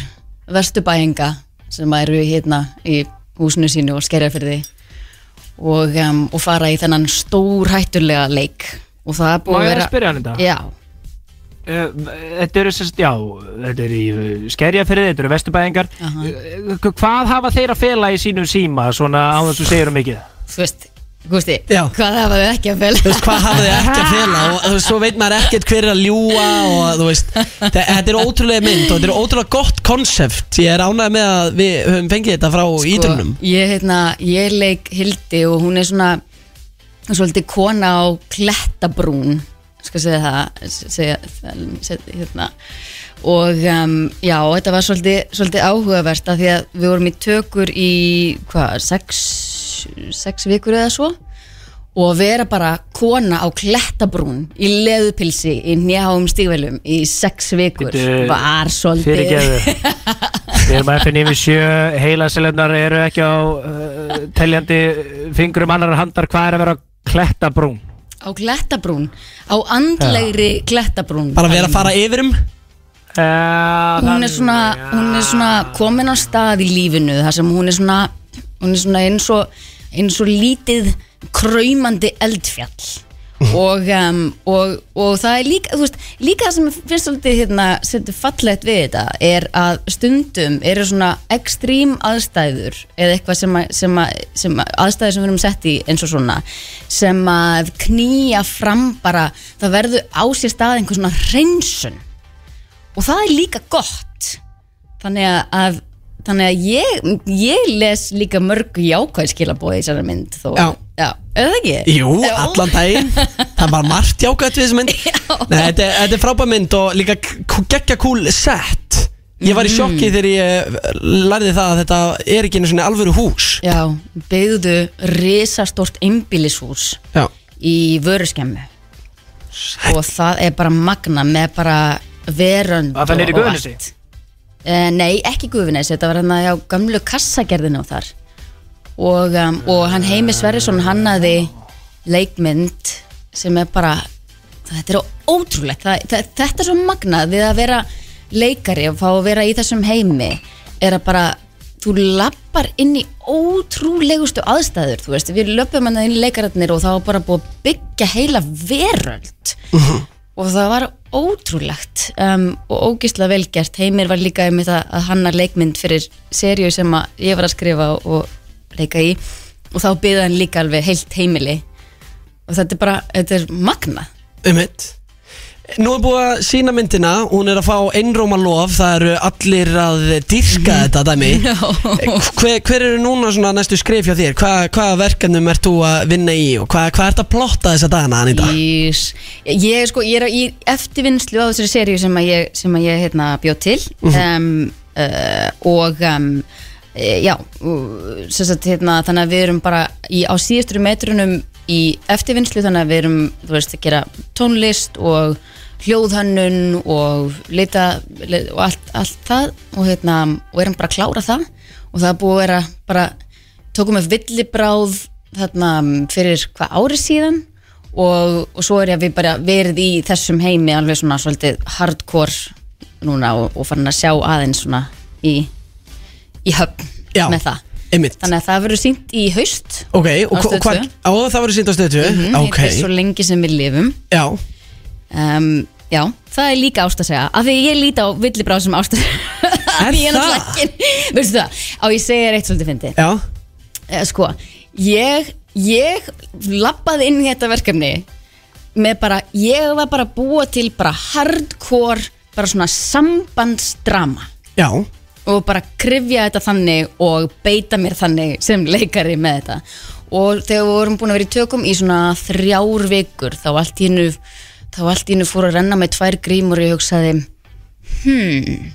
Speaker 8: vesturbæinga sem eru hérna í húsinu sínu og skerja fyrir því og, um, og fara í þennan stór hættulega leik og það er
Speaker 2: Má
Speaker 8: búið að
Speaker 2: ég
Speaker 8: vera
Speaker 2: að spyrja hann um þetta?
Speaker 8: Já,
Speaker 2: Eh, Þetta eru sérst, já, þetta eru í skerjafyrði, þetta eru vesturbæðingar
Speaker 8: Aha.
Speaker 2: Eh, Hvað hafa þeir að fela í sínum síma, svona á þess að segja um mikið?
Speaker 8: þú veist Gústi,
Speaker 1: Já.
Speaker 8: hvað hafa við ekki að
Speaker 1: þú
Speaker 8: fela
Speaker 1: veist, hvað hafði ekki að fela og þú veist, svo veit maður ekkert hver er að ljúa og þú veist, þe- þetta er ótrúlega mynd og þetta er ótrúlega gott konsept ég er ánægð með að við höfum fengið þetta frá sko, ídrunum
Speaker 8: ég, hérna, ég leik Hildi og hún er svona svolítið kona á klettabrún skal segja það segja, segja, hérna. og um, já, þetta var svolítið, svolítið áhugavert af því að við vorum í tökur í hvað, sex, sex vikur eða svo og að vera bara kona á klettabrún í leðupilsi í njáum stígvelum í sex vikur
Speaker 2: Bíddu,
Speaker 8: var
Speaker 2: Fyrir
Speaker 8: svolítið
Speaker 2: geðu Við erum að finna yfir sjö heilaselefnar eru ekki á uh, teljandi fingrum annar handar hvað er að vera klettabrún
Speaker 8: Á klettabrún, á andlegri klettabrún
Speaker 1: bara vera að fara yfir um
Speaker 2: uh,
Speaker 8: Hún er svona, hún er svona komin á stað í lífinu þar sem hún er svona, hún er svona eins, og, eins og lítið kraumandi eldfjall og, um, og, og það er líka, þú veist, líka það sem mér finnst svolítið hérna, svolítið fallegt við þetta er að stundum eru svona ekstrím aðstæður eða eitthvað sem, að, sem, að, sem að, aðstæður sem við erum sett í eins og svona sem að knýja fram bara, það verður á sér stað einhver svona hreinsun og það er líka gott þannig að, að þannig að ég, ég les líka mörg jákvæðskilabóði í þessari mynd þó,
Speaker 1: Já.
Speaker 8: já, er það ekki?
Speaker 1: Jú, allan daginn Það er bara margt jákvæmt við þessum mynd Nei, þetta, er- þetta er frábær mynd og líka k- geggja kúl sett Ég var í sjokki þegar ég eh, lærði það að þetta er ekki einu svona alvöru hús
Speaker 8: Já, byggðu risastort einbýlishús
Speaker 1: Já,
Speaker 8: í vöruskemmu og það er bara magna með bara verönd
Speaker 2: Var það niður í
Speaker 8: og- og
Speaker 2: Gufunesi?
Speaker 8: allt. Eh, nei, ekki guðunis, þetta var hérna hann að já, gamlu kassagerðinu og þar og, um, og hann Heimi Sverrisson hannaði leikmynd sem er bara þetta er ótrúlegt, það, það, þetta er svo magnað við að vera leikari og fá að vera í þessum heimi er að bara, þú lappar inn í ótrúlegustu aðstæður þú veist, við löpum hann inn í leikararnir og það var bara búið að byggja heila veröld og það var ótrúlegt um, og ógislega vel gert Heimir var líka um þetta að hanna leikmynd fyrir seríu sem að ég var að skrifa og leika í og þá byggði hann líka alveg heilt heimili og þetta er bara, þetta er magna
Speaker 1: um hitt Nú er búið að sína myndina, hún er að fá einróma lof Það eru allir að dýrka þetta dæmi hver, hver eru núna svona næstu skrif hjá þér? Hva, hvaða verkefnum ert þú að vinna í og hvað hva ert að plotta þessa dagana, Anita?
Speaker 8: Ís, ég, er sko, ég er á- í eftirvinnslu á þessari seríu sem að ég, sem að ég hérna, bjóð til um, uh, og um, e, já og, sem sagt, hérna, þannig að við erum bara í, á síðustur metrunum í eftirvinnslu þannig að við erum þú veist, að gera tónlist og hljóðhönnun og lita le- og allt, allt það og, hérna, og erum bara að klára það og það er búið að vera bara tókum við villibráð þarna mm, fyrir hvað ári síðan og, og svo er ég að við bara verið í þessum heimi alveg svona svolítið hardcore núna og, og farin að sjá aðeins svona í, í höfn
Speaker 1: Já,
Speaker 8: með það
Speaker 1: einmitt.
Speaker 8: þannig að það verður sínt í haust
Speaker 1: Ok, og
Speaker 8: Á
Speaker 1: hva-
Speaker 8: Stöð
Speaker 1: hvað?
Speaker 8: tvö.
Speaker 1: Á það verður sínt á stötu?
Speaker 8: Mhm,
Speaker 1: ok,
Speaker 8: þetta er svo lengi sem við lifum
Speaker 1: já
Speaker 8: um, Já, það er líka ást að segja Af því ég líti á villibráð sem ást að segja
Speaker 1: Er
Speaker 8: Ég er náttúrulega
Speaker 1: það?
Speaker 8: ekki Veistu það, á ég segja þér eitt svolítið fyndi
Speaker 1: Já,
Speaker 8: Eh, Sko, ég, ég labbaði inn í þetta verkefni með bara, ég var bara að búa til bara hardcore, bara svona sambandsdrama
Speaker 1: já
Speaker 8: og bara krifja þetta þannig og beita mér þannig sem leikari með þetta og þegar við vorum búin að vera í tökum í svona þrjár vikur þá allt í hennu þá allt í hennu fór að renna með tvær grímur og ég hugsaði hmm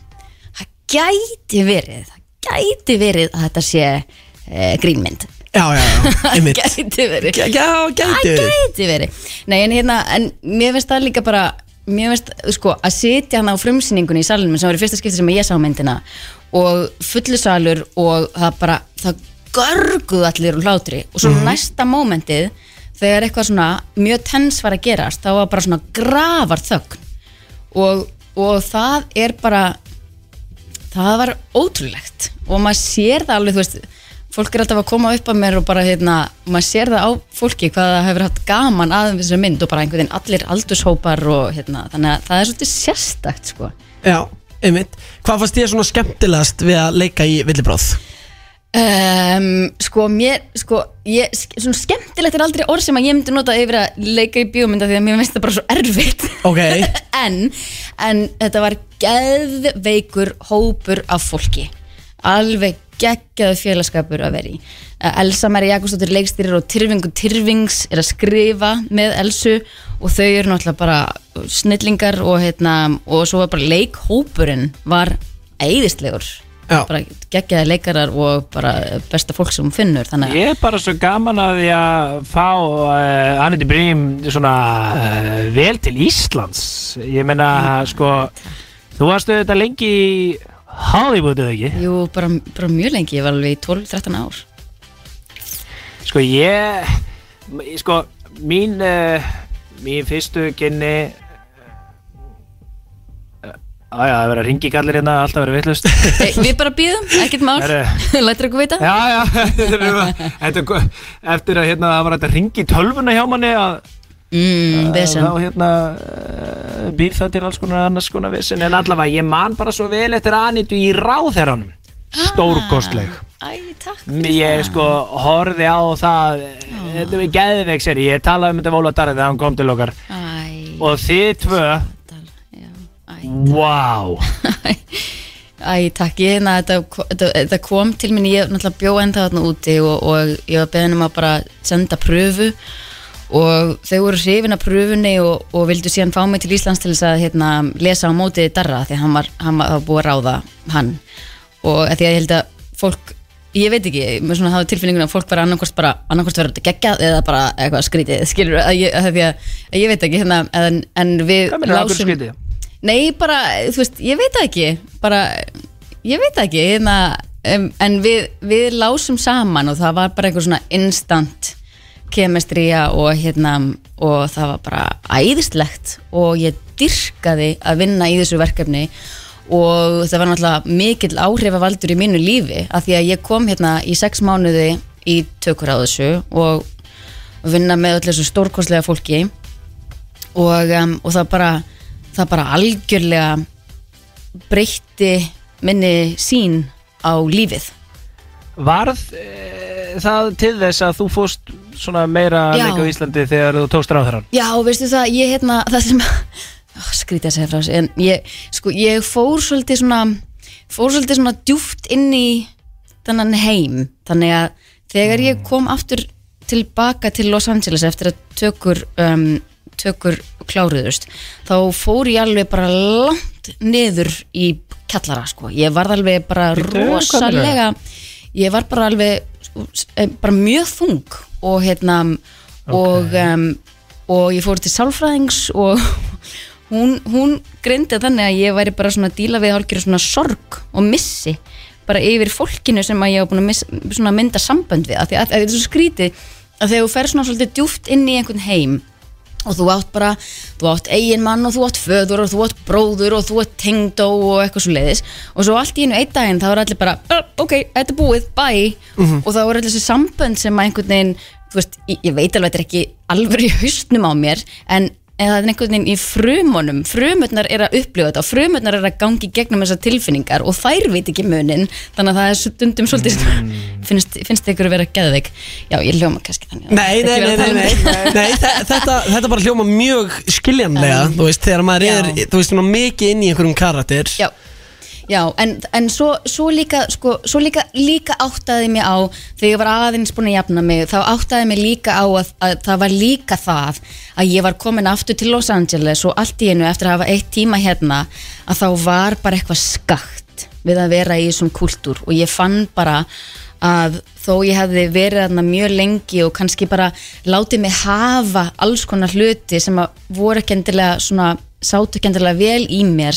Speaker 8: það gæti verið það gæti verið að þetta sé e, grínmynd
Speaker 1: Já, já, já, einmitt
Speaker 8: gæti verið
Speaker 1: Gæ- Já, gæti
Speaker 8: Það
Speaker 1: verið
Speaker 8: gæti verið Nei, en hérna, en mér finnst það líka bara Mér finnst, sko, að sitja hann á frumsýningunni í salunum sem var í fyrsta skipti sem ég sá myndina og fullu salur og það bara, það görguð allir úr hlátri
Speaker 1: Mhm.
Speaker 8: og svo næsta mómentið þegar eitthvað svona mjög tens var að gerast, þá var bara svona grafar þögn og, og það er bara það var ótrúlegt og maður sér það alveg, þú veist fólk er alltaf að koma upp að mér og bara hérna, maður sér það á fólki hvað það hefur haft gaman að þessari mynd og bara einhvern veginn allir aldurshópar og hérna, þannig að það er svolítið sérstakt sko.
Speaker 1: Já, einmitt Hvað fannst ég svona skemmtilegast við að leika í villibráð?
Speaker 8: Um, sko mér sko, ég, svona skemmtilegt er aldrei orð sem að ég myndi nota yfir að leika í bíómynda því að mér finnst það bara svo erfitt
Speaker 1: Ok.
Speaker 8: en, en þetta var geðveikur hópur af fólki alveg geggjaðu félagskapur að vera í Eh, Elsa Mæri Jakobsdóttir leikstýrir og Tyrfingu Tyrfings er að skrifa með Elsu og þau eru náttúrulega bara snillingar og, heitna, og svo var bara leikhópurinn var æðislegur
Speaker 1: Já.
Speaker 8: bara geggjaði leikarar og bara besta fólk sem hún finnur þannig að
Speaker 2: Ég er bara svo gaman að ég að fá uh, Annette Brím svona uh, vel til Íslands ég meina sko þú varstu þetta lengi í Hollywoodu ekki
Speaker 8: Jú, bara, bara mjög lengi, ég var alveg í 12-13 ár
Speaker 2: sko ég m- sko mín uh, mín fyrstu kynni eh, Æja, það verður að ringi kallir hérna, alltaf verður vittlust
Speaker 8: Hey, við bara býðum, ekkert mál
Speaker 2: Herru.
Speaker 8: Lætur okkur vita
Speaker 2: Já, já, þetta er bara- þetta er gó- eftir að hérna, það var hægt að ringi tölvuna hjá manni að
Speaker 8: mm, Vesen
Speaker 2: þá hérna uh, býr það til alls konar annars konar vissin en allavega ég man bara svo vel eftir Anitu í ráðherranum
Speaker 8: Ah.
Speaker 2: stórkostleg
Speaker 8: Æ, takk
Speaker 2: ég sko horfi á það
Speaker 8: Ah.
Speaker 2: þetta er geðveik sér ég talaði um þetta Vóla Darri þegar hann kom til okkar
Speaker 8: Æ,
Speaker 2: og þið tvö
Speaker 8: dal- já, æ,
Speaker 2: wow
Speaker 8: æ, takk Ég, na, þetta, þetta, þetta kom til mín Ég náttúrulega bjó enda þarna úti og, og ég var beðin um að bara senda pröfu og þau voru hrifin af pröfunni og, og vildu síðan fá mig til Íslands til þess að hérna, lesa á mótið Darra því að hann var, hann var, það var búið að ráða hann og að því að ég held að fólk ég veit ekki, með svona hafa tilfinninguna að fólk bara annarkvort bara, annarkvort verður þetta geggjað eða bara eitthvað skrítið, skilur að ég, að því að, að ég veit ekki, hérna, en, en við
Speaker 2: Hvað meinarðu, af hverju skrítið?
Speaker 8: Nei, bara, þú veist, ég veit það ekki bara, ég veit það ekki hérna, um, en við, við lásum saman og það var bara einhver svona instant kemestría og hérna og það var bara æðislegt og ég dyrkaði að vinna í þessu verkefni og það var náttúrulega mikill áhrifavaldur í mínu lífi af því að ég kom hérna í sex mánuði í tökur á þessu og vinna með öllu þessu stórkostlega fólki og, um, og það bara það bara algjörlega breytti minni sín á lífið
Speaker 2: varð uh, það til þess að þú fóst svona meira að
Speaker 8: Já.
Speaker 2: leika á Íslandi þegar þú tókst ráðherran
Speaker 8: Já, veistu það, ég hérna, það sem oh, skrítið að segja frá þessu, en ég sko, ég fór svolítið svona fór svolítið svona djúft inn í þannan heim, þannig að þegar ég kom aftur tilbaka til Los Angeles eftir að tökur um, tökur kláruðust þá fór ég alveg bara langt niður í kjallara sko, ég varð alveg bara
Speaker 2: Bíddu, hvað meinarðu?
Speaker 8: rosalega líka ég var bara alveg sko, s- eh, bara mjög þung og hérna og, um, og ég fór til sálfræðings og hún, hún greindi þannig að ég væri bara svona að díla við hálfgjör svona sorg og missi bara yfir fólkinu sem að ég var búin að miss, svona mynda sambönd við af því að, að þetta er svo skrítið að þegar þú fer svona svolítið djúft inn í einhvern heim og þú átt bara, þú átt eigin mann og þú átt föður og þú átt bróður og þú átt tengdó og eitthvað svo leiðis og svo allt í einu einn daginn þá er allir bara "Ah, ok, þetta er búið, bye
Speaker 1: Mhm.
Speaker 8: og þá er allir þessi sambönd sem að einhvern veginn þú veist, ég, ég veit alveg að þetta er ekki alveg í haustnum á mér en en það er einhvern veginn í frumunum frumurnar er að upplifa þetta og frumurnar er að gangi gegnum þessar tilfinningar og þær veit ekki munin þannig að það er stundum svolítið
Speaker 1: Mm.
Speaker 8: finnst, finnst ykkur að vera geðveik já, ég hljóma kannski þannig
Speaker 1: Nei, nei,
Speaker 8: Ekki
Speaker 1: nei,
Speaker 8: vera að tala
Speaker 1: nei, nei,
Speaker 8: um þetta.
Speaker 1: nei þe- þetta, þetta bara hljóma mjög skiljanlega Þú veist, þegar maður er,
Speaker 8: Já.
Speaker 1: þú veist, svona mikið inn í einhverjum karakter
Speaker 8: já, já en, en svo, svo líka, sko, svo líka, líka áttaði mig á þegar ég var aðeins búin að jafna mig þá áttaði mig líka á að, að það var líka það að ég var komin aftur til Los Angeles og allt í einu eftir að hafa eitt tíma hérna að þá var bara eitthvað skakt við að vera í þessum kultúr og ég fann bara að þó ég hefði verið þarna mjög lengi og kannski bara látið mig hafa alls konar hluti sem að voru ekki endilega svona sátu ekki endilega vel í mér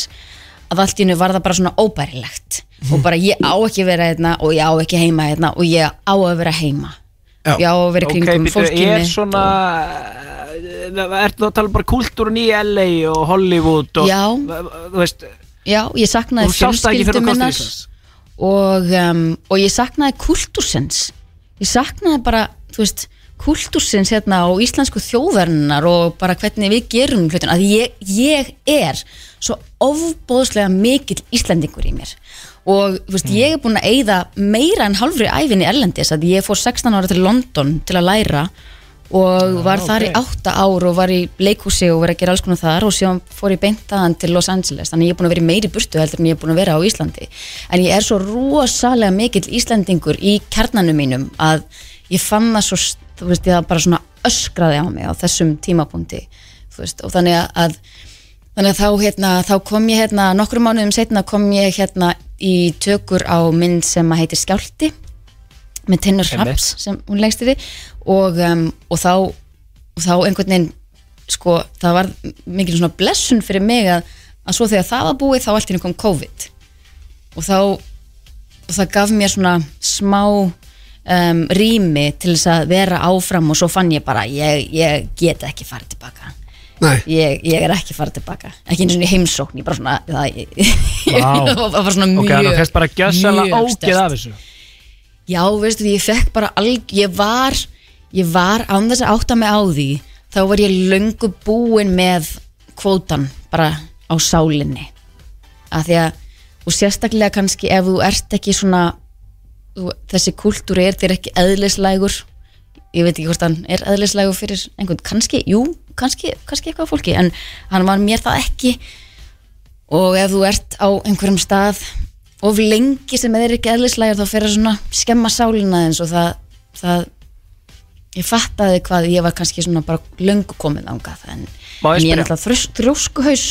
Speaker 8: að allt í hennu var það bara svona óbærilegt og bara ég á ekki að vera hérna og ég á ekki heima hérna og ég á að vera heima
Speaker 1: Já.
Speaker 8: ég á að vera í
Speaker 2: Ok,
Speaker 8: kringum okay,
Speaker 2: býttu,
Speaker 8: fólkið
Speaker 2: er
Speaker 8: mitt
Speaker 2: svona eh,
Speaker 8: og-
Speaker 2: Ertu þá að tala bara kultúrun í LA og Hollywood og
Speaker 8: Já.
Speaker 2: Þú veist,
Speaker 8: Já, ég saknaði
Speaker 2: Þú sást það ekki fyrir þú
Speaker 8: fjölskyldu
Speaker 2: komst til
Speaker 8: minnar
Speaker 2: Íslands?
Speaker 8: og, um, og ég saknaði kultúrsins ég saknaði bara, þú veist kultúrsins hérna og íslensku þjóðverðinar og bara hvernig við gerum hlutin að ég, ég er svo ofbóðslega mikill Íslendingur í mér og þú veist, ég er búin að eyða meira en halvri ævinni erlendis að ég fór 16 ára til London til að læra og var þar í átta ár og var í leikhúsi og var að gera alls konar þar og síðan fór ég beint aðan til Los Angeles þannig ég er búin að vera í meiri burtu heldur en ég er búin að vera á Íslandi en ég er svo rosalega mikill Íslandingur í kjarnanum mínum að ég fann það svo þú veist ég það bara svona öskraði á mig á þessum tímapunkti þú veist og þannig að þannig að þá hérna þá kom ég hérna nokkrum mánuðum setna kom ég hérna í tökur á mynd sem að heitir Skjálti með Tinnur Hrafs sem hún lengst í því og, um, og, þá, og þá einhvern veginn sko, það var mikil svona blessun fyrir mig að, að svo þegar það var búið þá allt í henni kom COVID og þá og það gaf mér svona smá um, rými til þess að vera áfram og svo fann ég bara ég, ég get ekki farið tilbaka
Speaker 1: Nei.
Speaker 8: ég, ég er ekki farið tilbaka ekki eins og heimsókn, ég bara svona það,
Speaker 2: Vá.
Speaker 8: það var svona mjög
Speaker 2: ok, þannig að þess bara
Speaker 8: mjög
Speaker 2: gjössalega
Speaker 8: sterkt.
Speaker 2: ógeð af þessu
Speaker 8: Já, veistu, ég fekk bara alg, ég var, ég var án þess að átta mig á því, þá var ég löngu búin með kvótan bara á sálinni að því að, og sérstaklega kannski ef þú ert ekki svona þú, þessi kultúr er þér ekki eðlislægur ég veit ekki hvort hann er eðlislægur fyrir einhvern, kannski, jú kannski, kannski eitthvað af fólki, en hann var mér það ekki og ef þú ert á einhverjum stað of lengi sem er ekki eðlislægur þá fer að svona skemma sálina eins og það, það ég fattaði hvað ég var kannski svona bara löngu komið ángað en,
Speaker 2: Má ég
Speaker 8: en
Speaker 2: spyrja?
Speaker 8: ég er
Speaker 2: Mhm.
Speaker 8: náttúrulega þrjósku, þrjóskuhaus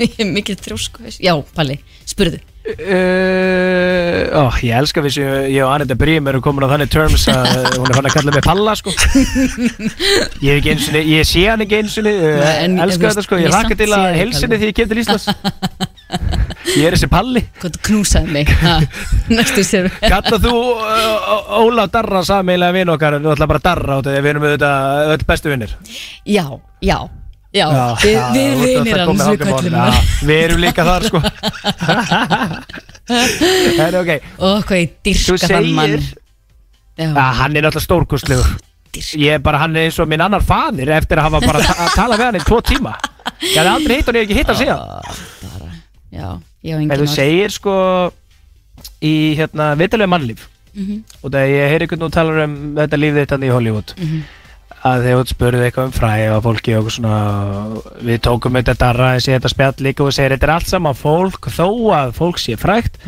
Speaker 8: ég er mikið þrjóskuhaus já, Palli, spurðu
Speaker 2: Uh, ó, ég elska við sem ég og Anita Brím erum komin á þannig terms að hún er fann að kalla mig Palla sko. ég, er ekki einu sinni, ég sé hann ekki einu sinni uh,
Speaker 8: Nei, en- en
Speaker 2: elska
Speaker 8: þú
Speaker 2: þetta sko, ég
Speaker 8: veist, ég
Speaker 2: hlakka
Speaker 8: samt
Speaker 2: til að
Speaker 8: sé þig,
Speaker 2: helsinni
Speaker 8: Palli.
Speaker 2: því ég kem til Íslands ég er þessi Palli
Speaker 8: hvað þú knúsaði mig ha, næstu sér
Speaker 2: Kalla þú uh, Ólaf Darra sameilega vinn okkar en þú ætla bara Darra út af því að við erum auðvitað öll bestu vinnir
Speaker 8: já, já, já, við, við
Speaker 2: þú ert
Speaker 8: vinir
Speaker 2: alltaf komin
Speaker 8: hans við
Speaker 2: þangað
Speaker 8: kallum
Speaker 2: bara.
Speaker 8: hann
Speaker 2: Já, Við erum líka þar sko Það er ok
Speaker 8: og hvað ég
Speaker 2: Þú
Speaker 8: dyrka þann mann
Speaker 2: segir
Speaker 8: já,
Speaker 2: að hann er náttúrulega stórkustlegur
Speaker 8: dyrka
Speaker 2: Ég er bara, hann er eins og minn annar faðir eftir að hafa bara ta að tala við hann í tvo tíma Ég hafði aldrei hitt hann, ég hef ekki hitt hann síðan
Speaker 8: já, já, engin
Speaker 2: En þú
Speaker 8: orð.
Speaker 2: segir sko í hérna vitalegu mannlíf
Speaker 8: Mhm.
Speaker 2: og það ég heyri hvernig þú talar um þetta líf þitt hann í Hollywood að þegar þú spurði eitthvað um fræði og fólki og svona við tókum þetta darra þessi þetta spjall líka og þú segir þetta er allt saman fólk þó að fólk sé frægt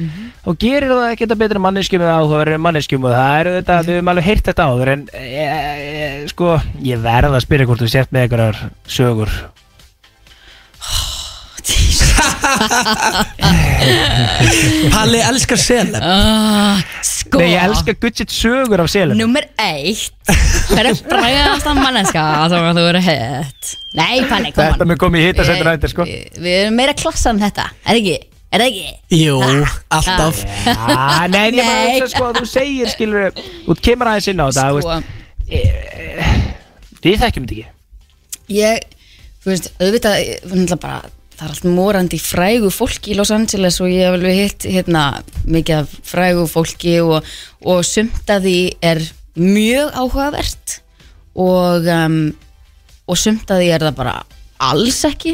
Speaker 2: og gerir það ekki þetta betri manneskjum eða áhugaverðin manneskjum og það eru þetta, við höfum alveg heyrt þetta áður en e, e, sko, ég verð að spyrja hvort þú sért með einhverjar sögur
Speaker 1: Palli elskar seleb
Speaker 8: Ah, sko
Speaker 2: Nei, ég elska gudsitt sögur af selum
Speaker 8: Númer eitt Hver er frægast að manneska Þá að þú eru hett Nei, panni, koma
Speaker 2: Þetta mun komið í hitasættina eftir, sko.
Speaker 8: Við erum meira klassa en þetta Er það ekki? Er það ekki?
Speaker 1: Jú, alltaf
Speaker 2: Ah, nei, nei,
Speaker 8: Nei.
Speaker 2: nei. Sko, þú segir skilur þú kemur aðeins inn á þetta þú
Speaker 8: Sko,
Speaker 2: veist, við þekkjum þetta ekki
Speaker 8: ég Þú veist, auðvitað ég- náttúrulega bara, Það er allt morandi í frægu fólki í Los Angeles og ég hef alveg hitt hérna, mikið af frægu fólki og, og sumt að því er mjög áhugavert og, um, og sumt að því er það bara alls ekki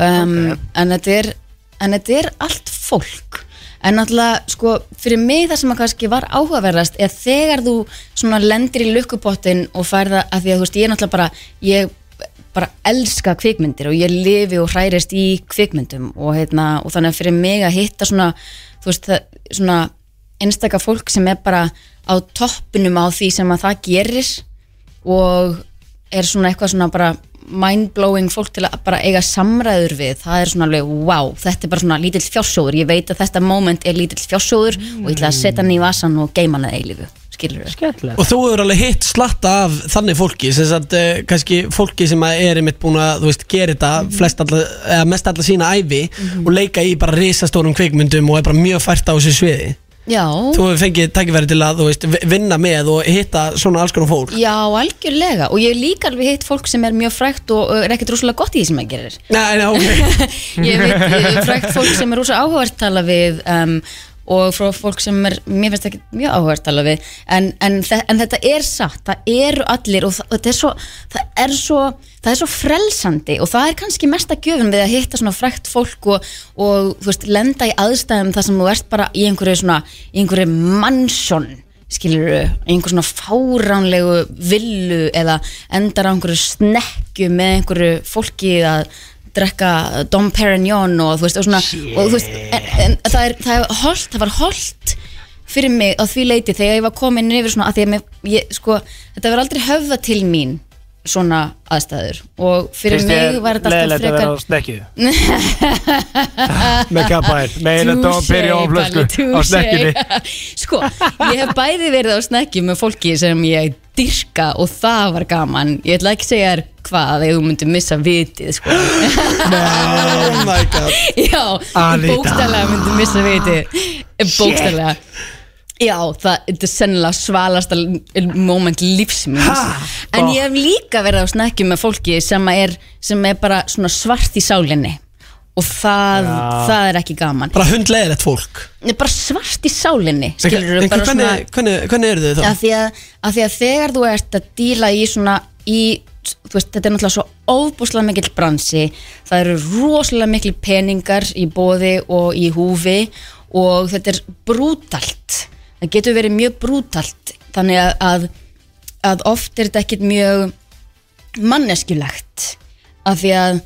Speaker 8: um, en, þetta er, en þetta er allt fólk en náttúrulega sko fyrir mig það sem að kannski var áhugaverðast er þegar þú svona lendir í lukkupottin og færða að því að þú veist ég er náttúrulega bara ég bara elska kvikmyndir og ég lifi og hrærist í kvikmyndum og, heitna, og þannig að fyrir mig að hitta svona þú veist það svona einstaka fólk sem er bara á toppinum á því sem að það gerir og er svona eitthvað svona bara mindblowing fólk til að bara eiga samræður við það er svona alveg, wow, þetta er bara svona lítill fjársjóður, ég veit að þetta moment er lítill fjársjóður og ég ætla að setja hann í vasan og geima hann að eilífu, skilur við
Speaker 2: Skemmtilegt
Speaker 1: Og þú hefur alveg hitt slatta af þannig fólki sem sagt, uh, kannski fólki sem að er einmitt búin að, þú veist, gera þetta
Speaker 8: Mhm.
Speaker 1: flest alla, eða mest alla sína ævi og leika í bara risastórum kvikmyndum og er bara mjög fært á þessu sviði
Speaker 8: Já,
Speaker 1: Þú hefur fengið tækifæri til að, þú veist, vi- vinna með og hitta svona alls konar fólk
Speaker 8: já, algjörlega og ég hef líka alveg hitt fólk sem er mjög frægt og uh, er ekkert rússalega gott í því sem það gerir
Speaker 1: Nei, nei, ok
Speaker 8: ég veit eh, frækt fólk sem er rosa áhugavert tala við um, og frá fólk sem er, mér finnst ekki mjög áhugavert tala við en, en, þe en þetta er satt, það eru allir og það, og þetta er svo, það er svo það er svo frelsandi og það er kannski mesta gjöfum við að hitta svona frækt fólk og, og þú veist, lenda í aðstæðum þar sem þú ert bara í einhverju svona í einhverju mannsjón skilur einhver svona fáránlegu villu eða endar á einhverju snekju með einhverju fólki að drekka Dom Perignon og þú veist, og svona, og, þú veist en, en það, er, það, er holt, það var holt fyrir mig á því leiti þegar ég var komin yfir svona að því að mig, ég, sko, þetta var aldrei höfða til mín svona aðstæður og fyrir
Speaker 2: Finnst
Speaker 8: mig
Speaker 2: þér
Speaker 8: var þetta alltaf
Speaker 2: leiðilegt að vera á
Speaker 8: frekar
Speaker 2: snekkju Með kappaðir Með eina dóm fyrir á flösku Á snekkjunni
Speaker 8: Sko, ég hef bæði verið á snekju með fólki sem ég dyrka og það var gaman Ég ætla ekki að segja þér hvað ef þú myndir missa vitið sko.
Speaker 1: Oh my god
Speaker 8: Já,
Speaker 2: Anita.
Speaker 8: bókstælega myndir missa vitið Bókstælega Já, það þetta er sennilega svalasta moment lífsmins En ég hef líka verið á snekju með fólki sem er, sem er bara svona svart í sálinni Og það, það er ekki gaman
Speaker 1: Bara hundlegilegt fólk
Speaker 8: Nei, bara svart í sálinni skilur
Speaker 1: En
Speaker 8: við bara
Speaker 1: hvernig,
Speaker 8: svona
Speaker 1: hvernig, hvernig, hvernig eru þau þá?
Speaker 8: af því, að, af því að þegar þú ert að díla í svona í, þú veist, þetta er náttúrulega svo óbúslega mikill bransi það eru rosalega mikil peningar í bóði og í húfi og þetta er brútalt það getur verið mjög brútalt þannig að, að, að oft er þetta ekkit mjög manneskjulegt af því að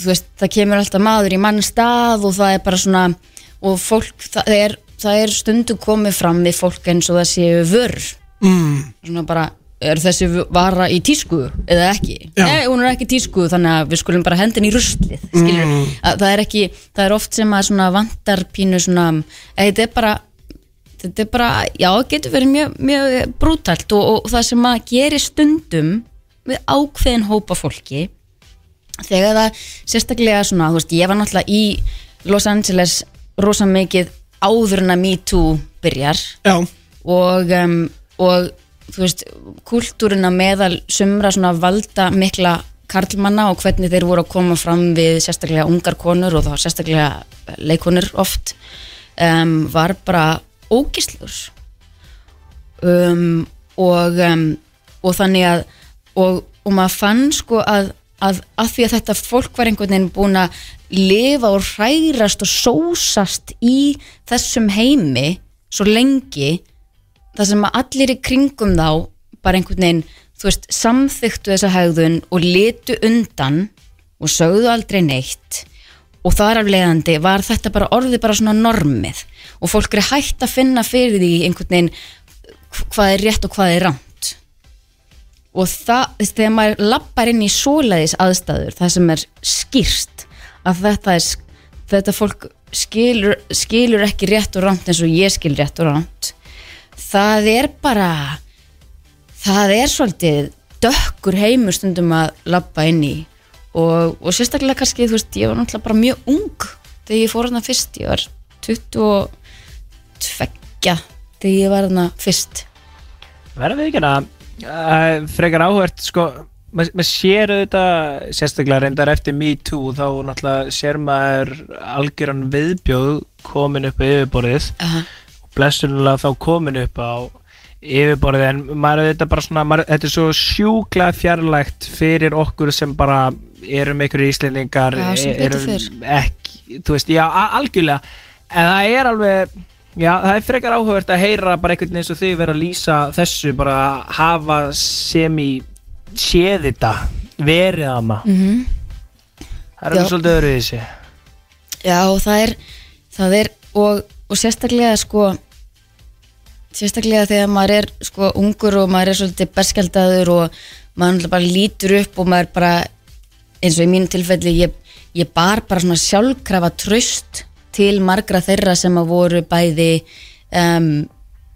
Speaker 8: þú veist, það kemur alltaf maður í mann stað og það er bara svona og fólk, það er, það er stundu komið fram við fólk eins og það séu vör mm. svona bara, er þessi vara í tísku eða ekki?
Speaker 1: Já.
Speaker 8: Nei, hún er ekki í tísku þannig að við skulum bara hendin í ruslið skilur, mm. það er ekki, það er oft sem að svona vantar pínu svona eða þetta er bara þetta er bara, já, getur verið mjög, mjög brútalt og, og það sem að gerir stundum við ákveðin hópa fólki þegar það sérstaklega svona, þú veist, ég var náttúrulega í Los Angeles rosa mikið áður en að Me Too byrjar
Speaker 1: Já,
Speaker 8: og, um, og þú veist, kultúruna meðal sumra svona valda mikla karlmanna og hvernig þeir voru að koma fram við sérstaklega ungar konur og þá sérstaklega leikonur oft um, var bara ógislur um, og, um, og þannig að og, og maður fann sko að, að að því að þetta fólk var einhvern veginn búin að lifa og hrærast og sósast í þessum heimi svo lengi þar sem að allir í kringum þá bara einhvern veginn, þú veist, samþyktu þessa hegðun og litu undan og sögðu aldrei neitt og þar af leiðandi var þetta bara orðið bara svona normið og fólk er hægt að finna fyrir því einhvern veginn hv- hvað er rétt og hvað er rámt og það, þess- þegar maður lappar inn í svoleiðis aðstæður, það sem er skýrst að þetta er sk- þetta fólk skilur, skilur ekki rétt og rámt eins og ég skil rétt og rámt það er bara það er svolítið dökkur heimur stundum að lappa inn í og, og sérstaklega kannski þú veist, ég var náttúrulega bara mjög ung þegar ég fór hana fyrst, ég var 22 þegar ég var hana fyrst
Speaker 2: Verðum við ekki hana Frekar áhvert sko maður mað sér auðvitað sérstaklega reyndar eftir Me Too þá náttúrulega sér maður algjöran viðbjóð komin upp á yfirborðið
Speaker 8: Aha.
Speaker 2: blessunulega þá komin upp á yfirborðið en maður er þetta bara svona maður, þetta er svo sjúkla fjarlægt fyrir okkur sem bara erum einhverju íslendingar e-
Speaker 8: Já, sem betur
Speaker 2: erum
Speaker 8: fer.
Speaker 2: ekki, þú veist, já, a- algjörlega en það er alveg já, það er frekar áhugavert að heyra bara einhvern veginn eins og þau vera að lýsa þessu bara að hafa sem í séð þetta, verið að maður
Speaker 8: mm
Speaker 2: það er
Speaker 8: Já.
Speaker 2: um svolítið öðru í þessi
Speaker 8: Já, og það er, það er og, og sérstaklega sko sérstaklega þegar maður er sko ungur og maður er svolítið berskjaldadur og maður náttúrulega bara lítur upp og maður bara eins og í mínu tilfelli ég, ég bar bara svona sjálfkrafa tröst til margra þeirra sem að voru bæði um,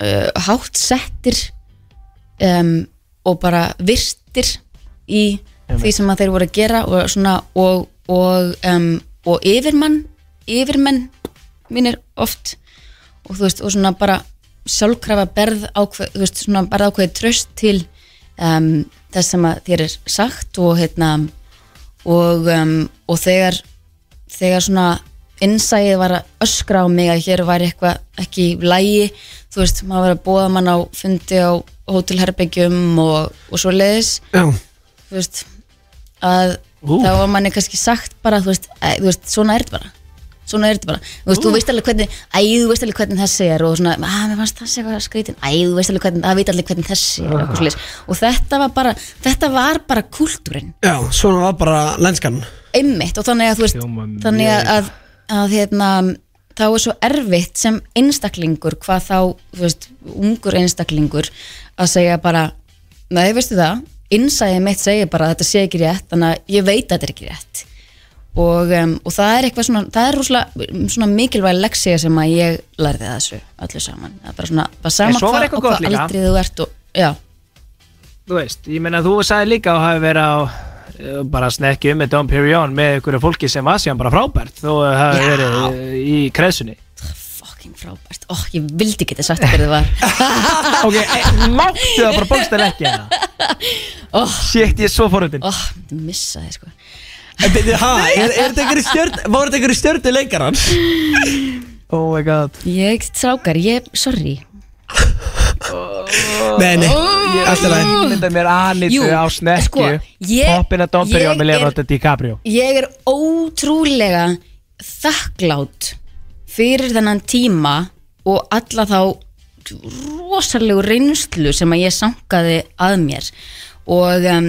Speaker 8: uh, hátt settir um, og bara virtir í því sem að þeir voru að gera og svona og, og, um, og yfirmann yfirmenn mínir oft og þú veist og svona bara sjálfkrafa berð ákveð, þú veist svona berð ákveðið tröst til um, þess sem að þér er sagt og hérna og, um, og þegar þegar svona innsæið var að öskra á mig að hér var eitthvað ekki í lægi þú veist, maður var að búa mann á fundi á hótelherbyggjum og, og svo leiðis
Speaker 1: Já,
Speaker 8: þú veist að þá var manni kannski sagt bara þú veist, æ, þú veist svona er þetta bara svona er þetta bara, þú veist, þú veist alveg hvernig æ, þú veist alveg hvernig þessi er og svona að, mér fannst þessi eitthvað skrítin, æ, þú veist alveg hvernig það veit allir hvernig þessi er og, svoleiðis. og þetta var bara, þetta var bara kúltúrin
Speaker 1: já, svona var bara lenskan
Speaker 8: einmitt og þannig að þú veist
Speaker 2: Hljómar mjög
Speaker 8: þannig að, að, að hérna, þá er svo erfitt sem einstaklingur hvað þá, þú veist, ungur einstaklingur að segja bara nei, veistu það, innsæðið mitt segir bara að þetta sé ekki rétt, þannig að ég veit að þetta er ekki rétt og, um, og það er eitthvað svona, það er rúslega svona mikilvæg leksíða sem að ég lærði að þessu öllu saman, það er bara svona bara sama
Speaker 2: svo var
Speaker 8: hvað
Speaker 2: eitthvað
Speaker 8: og
Speaker 2: gott
Speaker 8: hvað
Speaker 2: líka.
Speaker 8: aldrei þú ert og, já,
Speaker 2: Þú veist, ég meina þú sagði líka að hafa verið á eh, bara snekki um með Dom Perignon með einhverju fólki sem var síðan bara frábært þó að hafa
Speaker 8: Já.
Speaker 2: verið eh, í kreðsunni
Speaker 8: fucking frábært, ó, ég vildi geta sagt hverju það var
Speaker 2: Ok, eh, máttu það bara bókstæl ekki hana?
Speaker 8: Oh.
Speaker 2: hérna? Shit, ég er svo forröndin
Speaker 8: ó, ég missa þið sko
Speaker 1: Ha, er, er þetta einhverju stjörn, var þetta einhverju stjörnu leikarans?
Speaker 2: Oh my god
Speaker 8: Ég, strákar, ég, sorry
Speaker 1: Nei, nei, allt er
Speaker 2: Ég
Speaker 1: læg
Speaker 2: mynda mér anitsu
Speaker 8: Jú,
Speaker 2: á snekki
Speaker 8: sko, ég-
Speaker 2: Poppin að Dom Perignon
Speaker 8: ég
Speaker 2: með
Speaker 8: er-
Speaker 2: Leonardo DiCaprio
Speaker 8: Ég er ótrúlega þakklátt fyrir þennan tíma og alla þá rosalegu reynslu sem að ég sankaði að mér og um,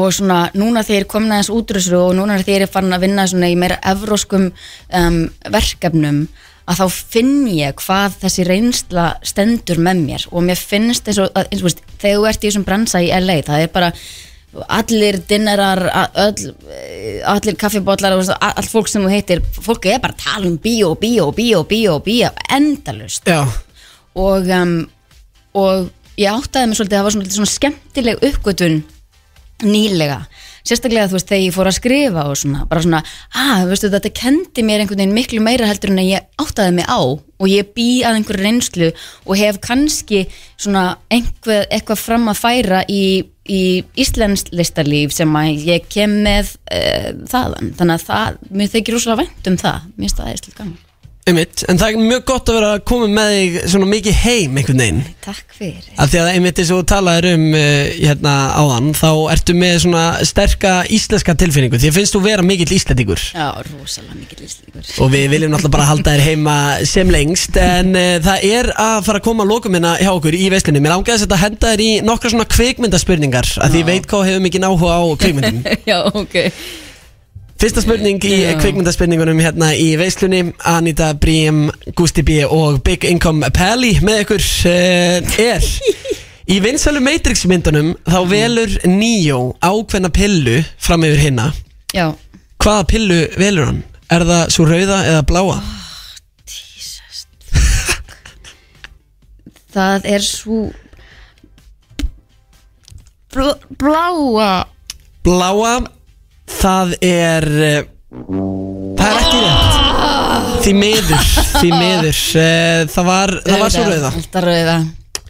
Speaker 8: og svona núna þegar ég komin aðeins út úr þessu og núna þegar ég er farin að vinna svona í meira evróskum um, verkefnum að þá finn ég hvað þessi reynsla stendur með mér og mér finnst eins og, að- eins og veist, þegar þú ert í þessum bransa í LA það er bara allir dinnerar a- öll, eh, allir kaffibótlar allt fólk sem þú heitir, fólk er bara að tala um bíó, bíó, bíó, bíó, bíó endalust
Speaker 1: Já,
Speaker 8: og, um, og ég áttaði mig svolítið, það var svona, svona skemmtileg uppgötun nýlega sérstaklega þú veist þegar ég fór að skrifa og svona, bara svona, að ah, veistu þetta kendi mér einhvern veginn miklu meira heldur en að ég áttaði mig á og ég bý að einhverju reynslu og hef kannski svona einhver, eitthvað fram að færa í, í Íslands listalíf sem að ég kem með uh, þaðan, þannig að það, mér þykir rosalega vænt um það, mér finnst það eða gaman
Speaker 1: einmitt En það er mjög gott að vera að koma með þig svona mikið heim einhvern veginn
Speaker 8: Takk fyrir
Speaker 1: Af því að einmitt eins og þú talaðir um uh, hérna áðan Þá ertu með svona sterka íslenska tilfinningu Því að finnst þú vera mikill íslendingur
Speaker 8: Já, rosalega mikið listalíkur
Speaker 1: Og við viljum náttúrulega bara halda þér heima sem lengst En uh, það er að fara að koma að lokum hérna hjá okkur í veislinni Mér langaði að þetta henda þér í nokkra svona kvikmyndaspurningar Af því ég veit hvað þú hefur mikið áhuga á kvikmyndum
Speaker 8: Já, ok
Speaker 1: Fyrsta spurning í
Speaker 8: Já.
Speaker 1: kvikmyndaspurningunum hérna í veislunni Anita Brím, Gusti B og Big Income Pally með ykkur uh, er Í vinsælu Matrix myndunum þá
Speaker 8: Mhm.
Speaker 1: velur Neo ákveðna pillu fram yfir hinna
Speaker 8: Já,
Speaker 1: Hvaða pillu velur hann? Er það svo rauða eða bláa?
Speaker 8: það er svo Bl- bláa
Speaker 1: Bláa, það er eh, Það er ekki rétt Því miður, því miður eh, Það var, það var svo rauða
Speaker 8: Alltaf rauða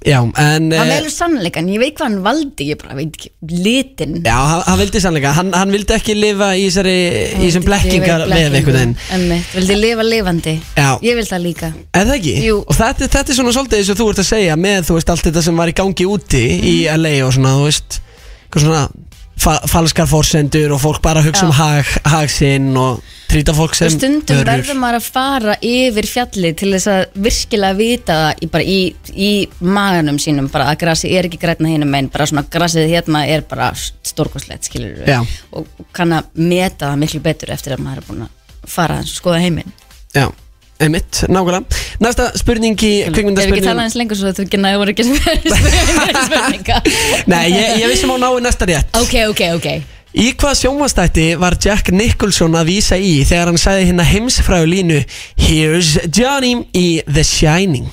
Speaker 1: Já, en
Speaker 8: Hann
Speaker 1: eh,
Speaker 8: velur sannleikan, ég veit hvað hann valdi Ég bara veit ekki, litin
Speaker 1: Já, hann, hann vildi sannleika, hann, hann vildi ekki lifa í þessari, í þessum blekkingar með einhvern veginn
Speaker 8: Emmitt, vildi lifa lifandi
Speaker 1: Já.
Speaker 8: Ég vil það líka
Speaker 1: Er það ekki?
Speaker 8: Jú.
Speaker 1: Og þetta, þetta er svona svolítið eins og þú ert að segja með, þú veist, allt þetta sem var í gangi úti í
Speaker 8: Mhm.
Speaker 1: LA og svona, þú veist, hvað svona fa falskar fórsendur og fólk bara hugsa
Speaker 8: Já.
Speaker 1: um hag, hag sinn og trýta fólk sem
Speaker 8: Og stundum
Speaker 1: vörur.
Speaker 8: verður maður að fara yfir fjalli til þess að virkilega vita það í, bara í, í maganum sínum bara að grasi er ekki grætna hinum en bara svona grasið hérna er bara stórkoslegt skilur
Speaker 1: Já.
Speaker 8: og, og kann að meta það miklu betur eftir að maður er búin að fara að skoða heiminn
Speaker 1: Já, einmitt, nákvæmlega. Næsta spurning í
Speaker 8: Ef ekki tala um
Speaker 1: kvikmyndaspurning.
Speaker 8: eins lengur svo þetta ekki næður ekki sem verður spurninga
Speaker 1: um Nei, ég, ég vissum á náu næsta rétt.
Speaker 8: Ok, ok, ok
Speaker 1: Í hvað sjónvastætti var Jack Nicholson að vísa í þegar hann sagði hérna heimsfræðu línu Here's Johnny í The Shining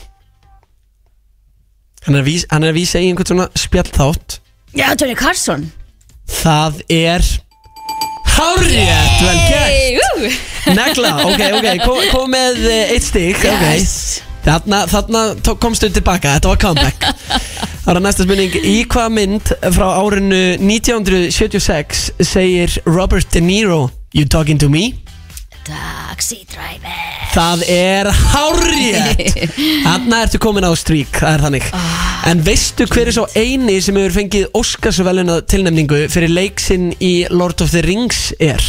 Speaker 1: Hann er að vísa, hann er að vísa í einhvern svona spjallþátt
Speaker 8: Já, Johnny Carson
Speaker 1: Það er Hárrétt, vel gert
Speaker 8: Hey, ú.
Speaker 1: Negla, ok, ok, kom, kom með eh, eitt stík
Speaker 8: Yes.
Speaker 1: okay. Þarna, þarna tó- komstu tilbaka, þetta var comeback Það var næsta spurning Í hvaða mynd frá árinu 1976 segir Robert De Niro You talking to me?
Speaker 8: Taxi driver
Speaker 1: Það er hárjétt Þarna ertu komin á strík, það er þannig En veistu hver er svo eini sem hefur fengið Óskarsveluna tilnefningu fyrir leiksinn í Lord of the Rings er?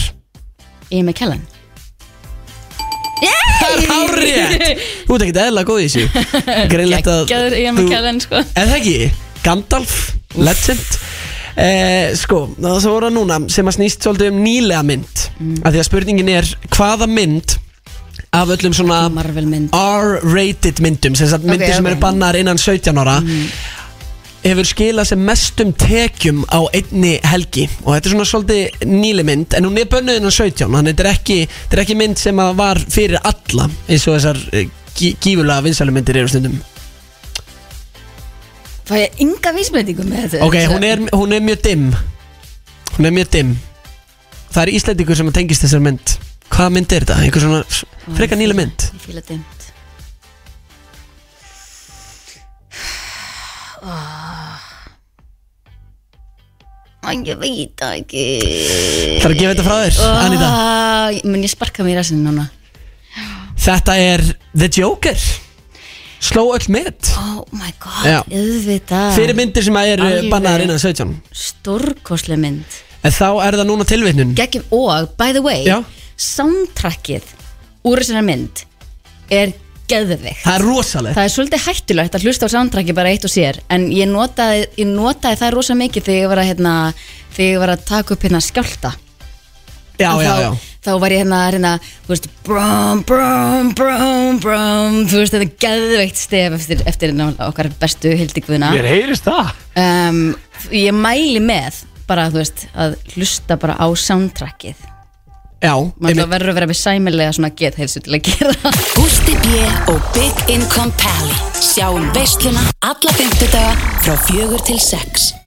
Speaker 8: Ian McKellen
Speaker 1: Það er hárjétt Þú ert ekkert eðla góð í þessu Greinlegt að
Speaker 8: Gæður Ian
Speaker 1: þú-
Speaker 8: McKellen sko
Speaker 1: Er það ekki? Gandalf, Legend eh, Sko, það sem voru núna sem að snýst svolítið um nýlega mynd mm. að því að spurningin er hvaða mynd af öllum svona
Speaker 8: Marvel mynd
Speaker 1: R-rated myndum sem sagt myndir
Speaker 8: Ok,
Speaker 1: sem
Speaker 8: ok. Mm.
Speaker 1: eru bannar innan 17 ára hefur skilað sem mestum tekjum á einni helgi og þetta er svona svolítið nýli mynd en hún er bönnuð innan 17 þannig þetta er ekki, þetta er ekki mynd sem að var fyrir alla eins og þessar eh, gí- gífurlega vinsælu myndir eru stundum
Speaker 8: Fæ ég ynga vísmyndingu með þetta
Speaker 1: Ok, hún er, hún er mjög dimm Hún er mjög dimm Það er Íslendingur sem tengist þessar mynd Hvaða mynd er þetta? Einhver svona freka nýla mynd
Speaker 8: Ég fíla dimmt Ah. Æ, ég veit það ekki
Speaker 1: Það er að gefa þetta frá þér, Anita
Speaker 8: Æ, Mun ég sparka mér að sinni núna
Speaker 1: Þetta er The Joker Sló öll mynd
Speaker 8: Oh my god,
Speaker 1: Já.
Speaker 8: auðvitað
Speaker 1: Fyrir myndir sem að er
Speaker 8: Ah. Alveg.
Speaker 1: bannaðar innan 17
Speaker 8: Stórkoslega mynd
Speaker 1: En þá er það núna tilvitnun
Speaker 8: Gekkum og, by the way
Speaker 1: Já.
Speaker 8: Soundtrackið úr þessari mynd Er geðveikt
Speaker 1: Það er rosaleg
Speaker 8: Það er svolítið hættulegt að hlusta á soundtracki bara eitt og sér En ég notaði, ég notaði það rosa mikið þegar ég var að, hérna, þegar ég var að taka upp hérna skjálta
Speaker 1: Já,
Speaker 8: Og
Speaker 1: já,
Speaker 8: þá,
Speaker 1: já
Speaker 8: Þá var ég hérna, hérna, þú veist, brum, brum, brum, brum Þú veist, þetta er geðveikt stef eftir, eftir hérna okkar bestu hildikvuna
Speaker 2: Mér heyrist það
Speaker 8: um, Ég mæli með bara, þú veist, að hlusta bara á soundtrackið
Speaker 1: Já,
Speaker 8: Maður
Speaker 1: einmitt.
Speaker 8: verður að vera með sæmilega svona geðheilsu til að gera það
Speaker 6: Gústi B. og Big um Income Pally Sjáum veisluna alla fymtudaga frá fjögur til sex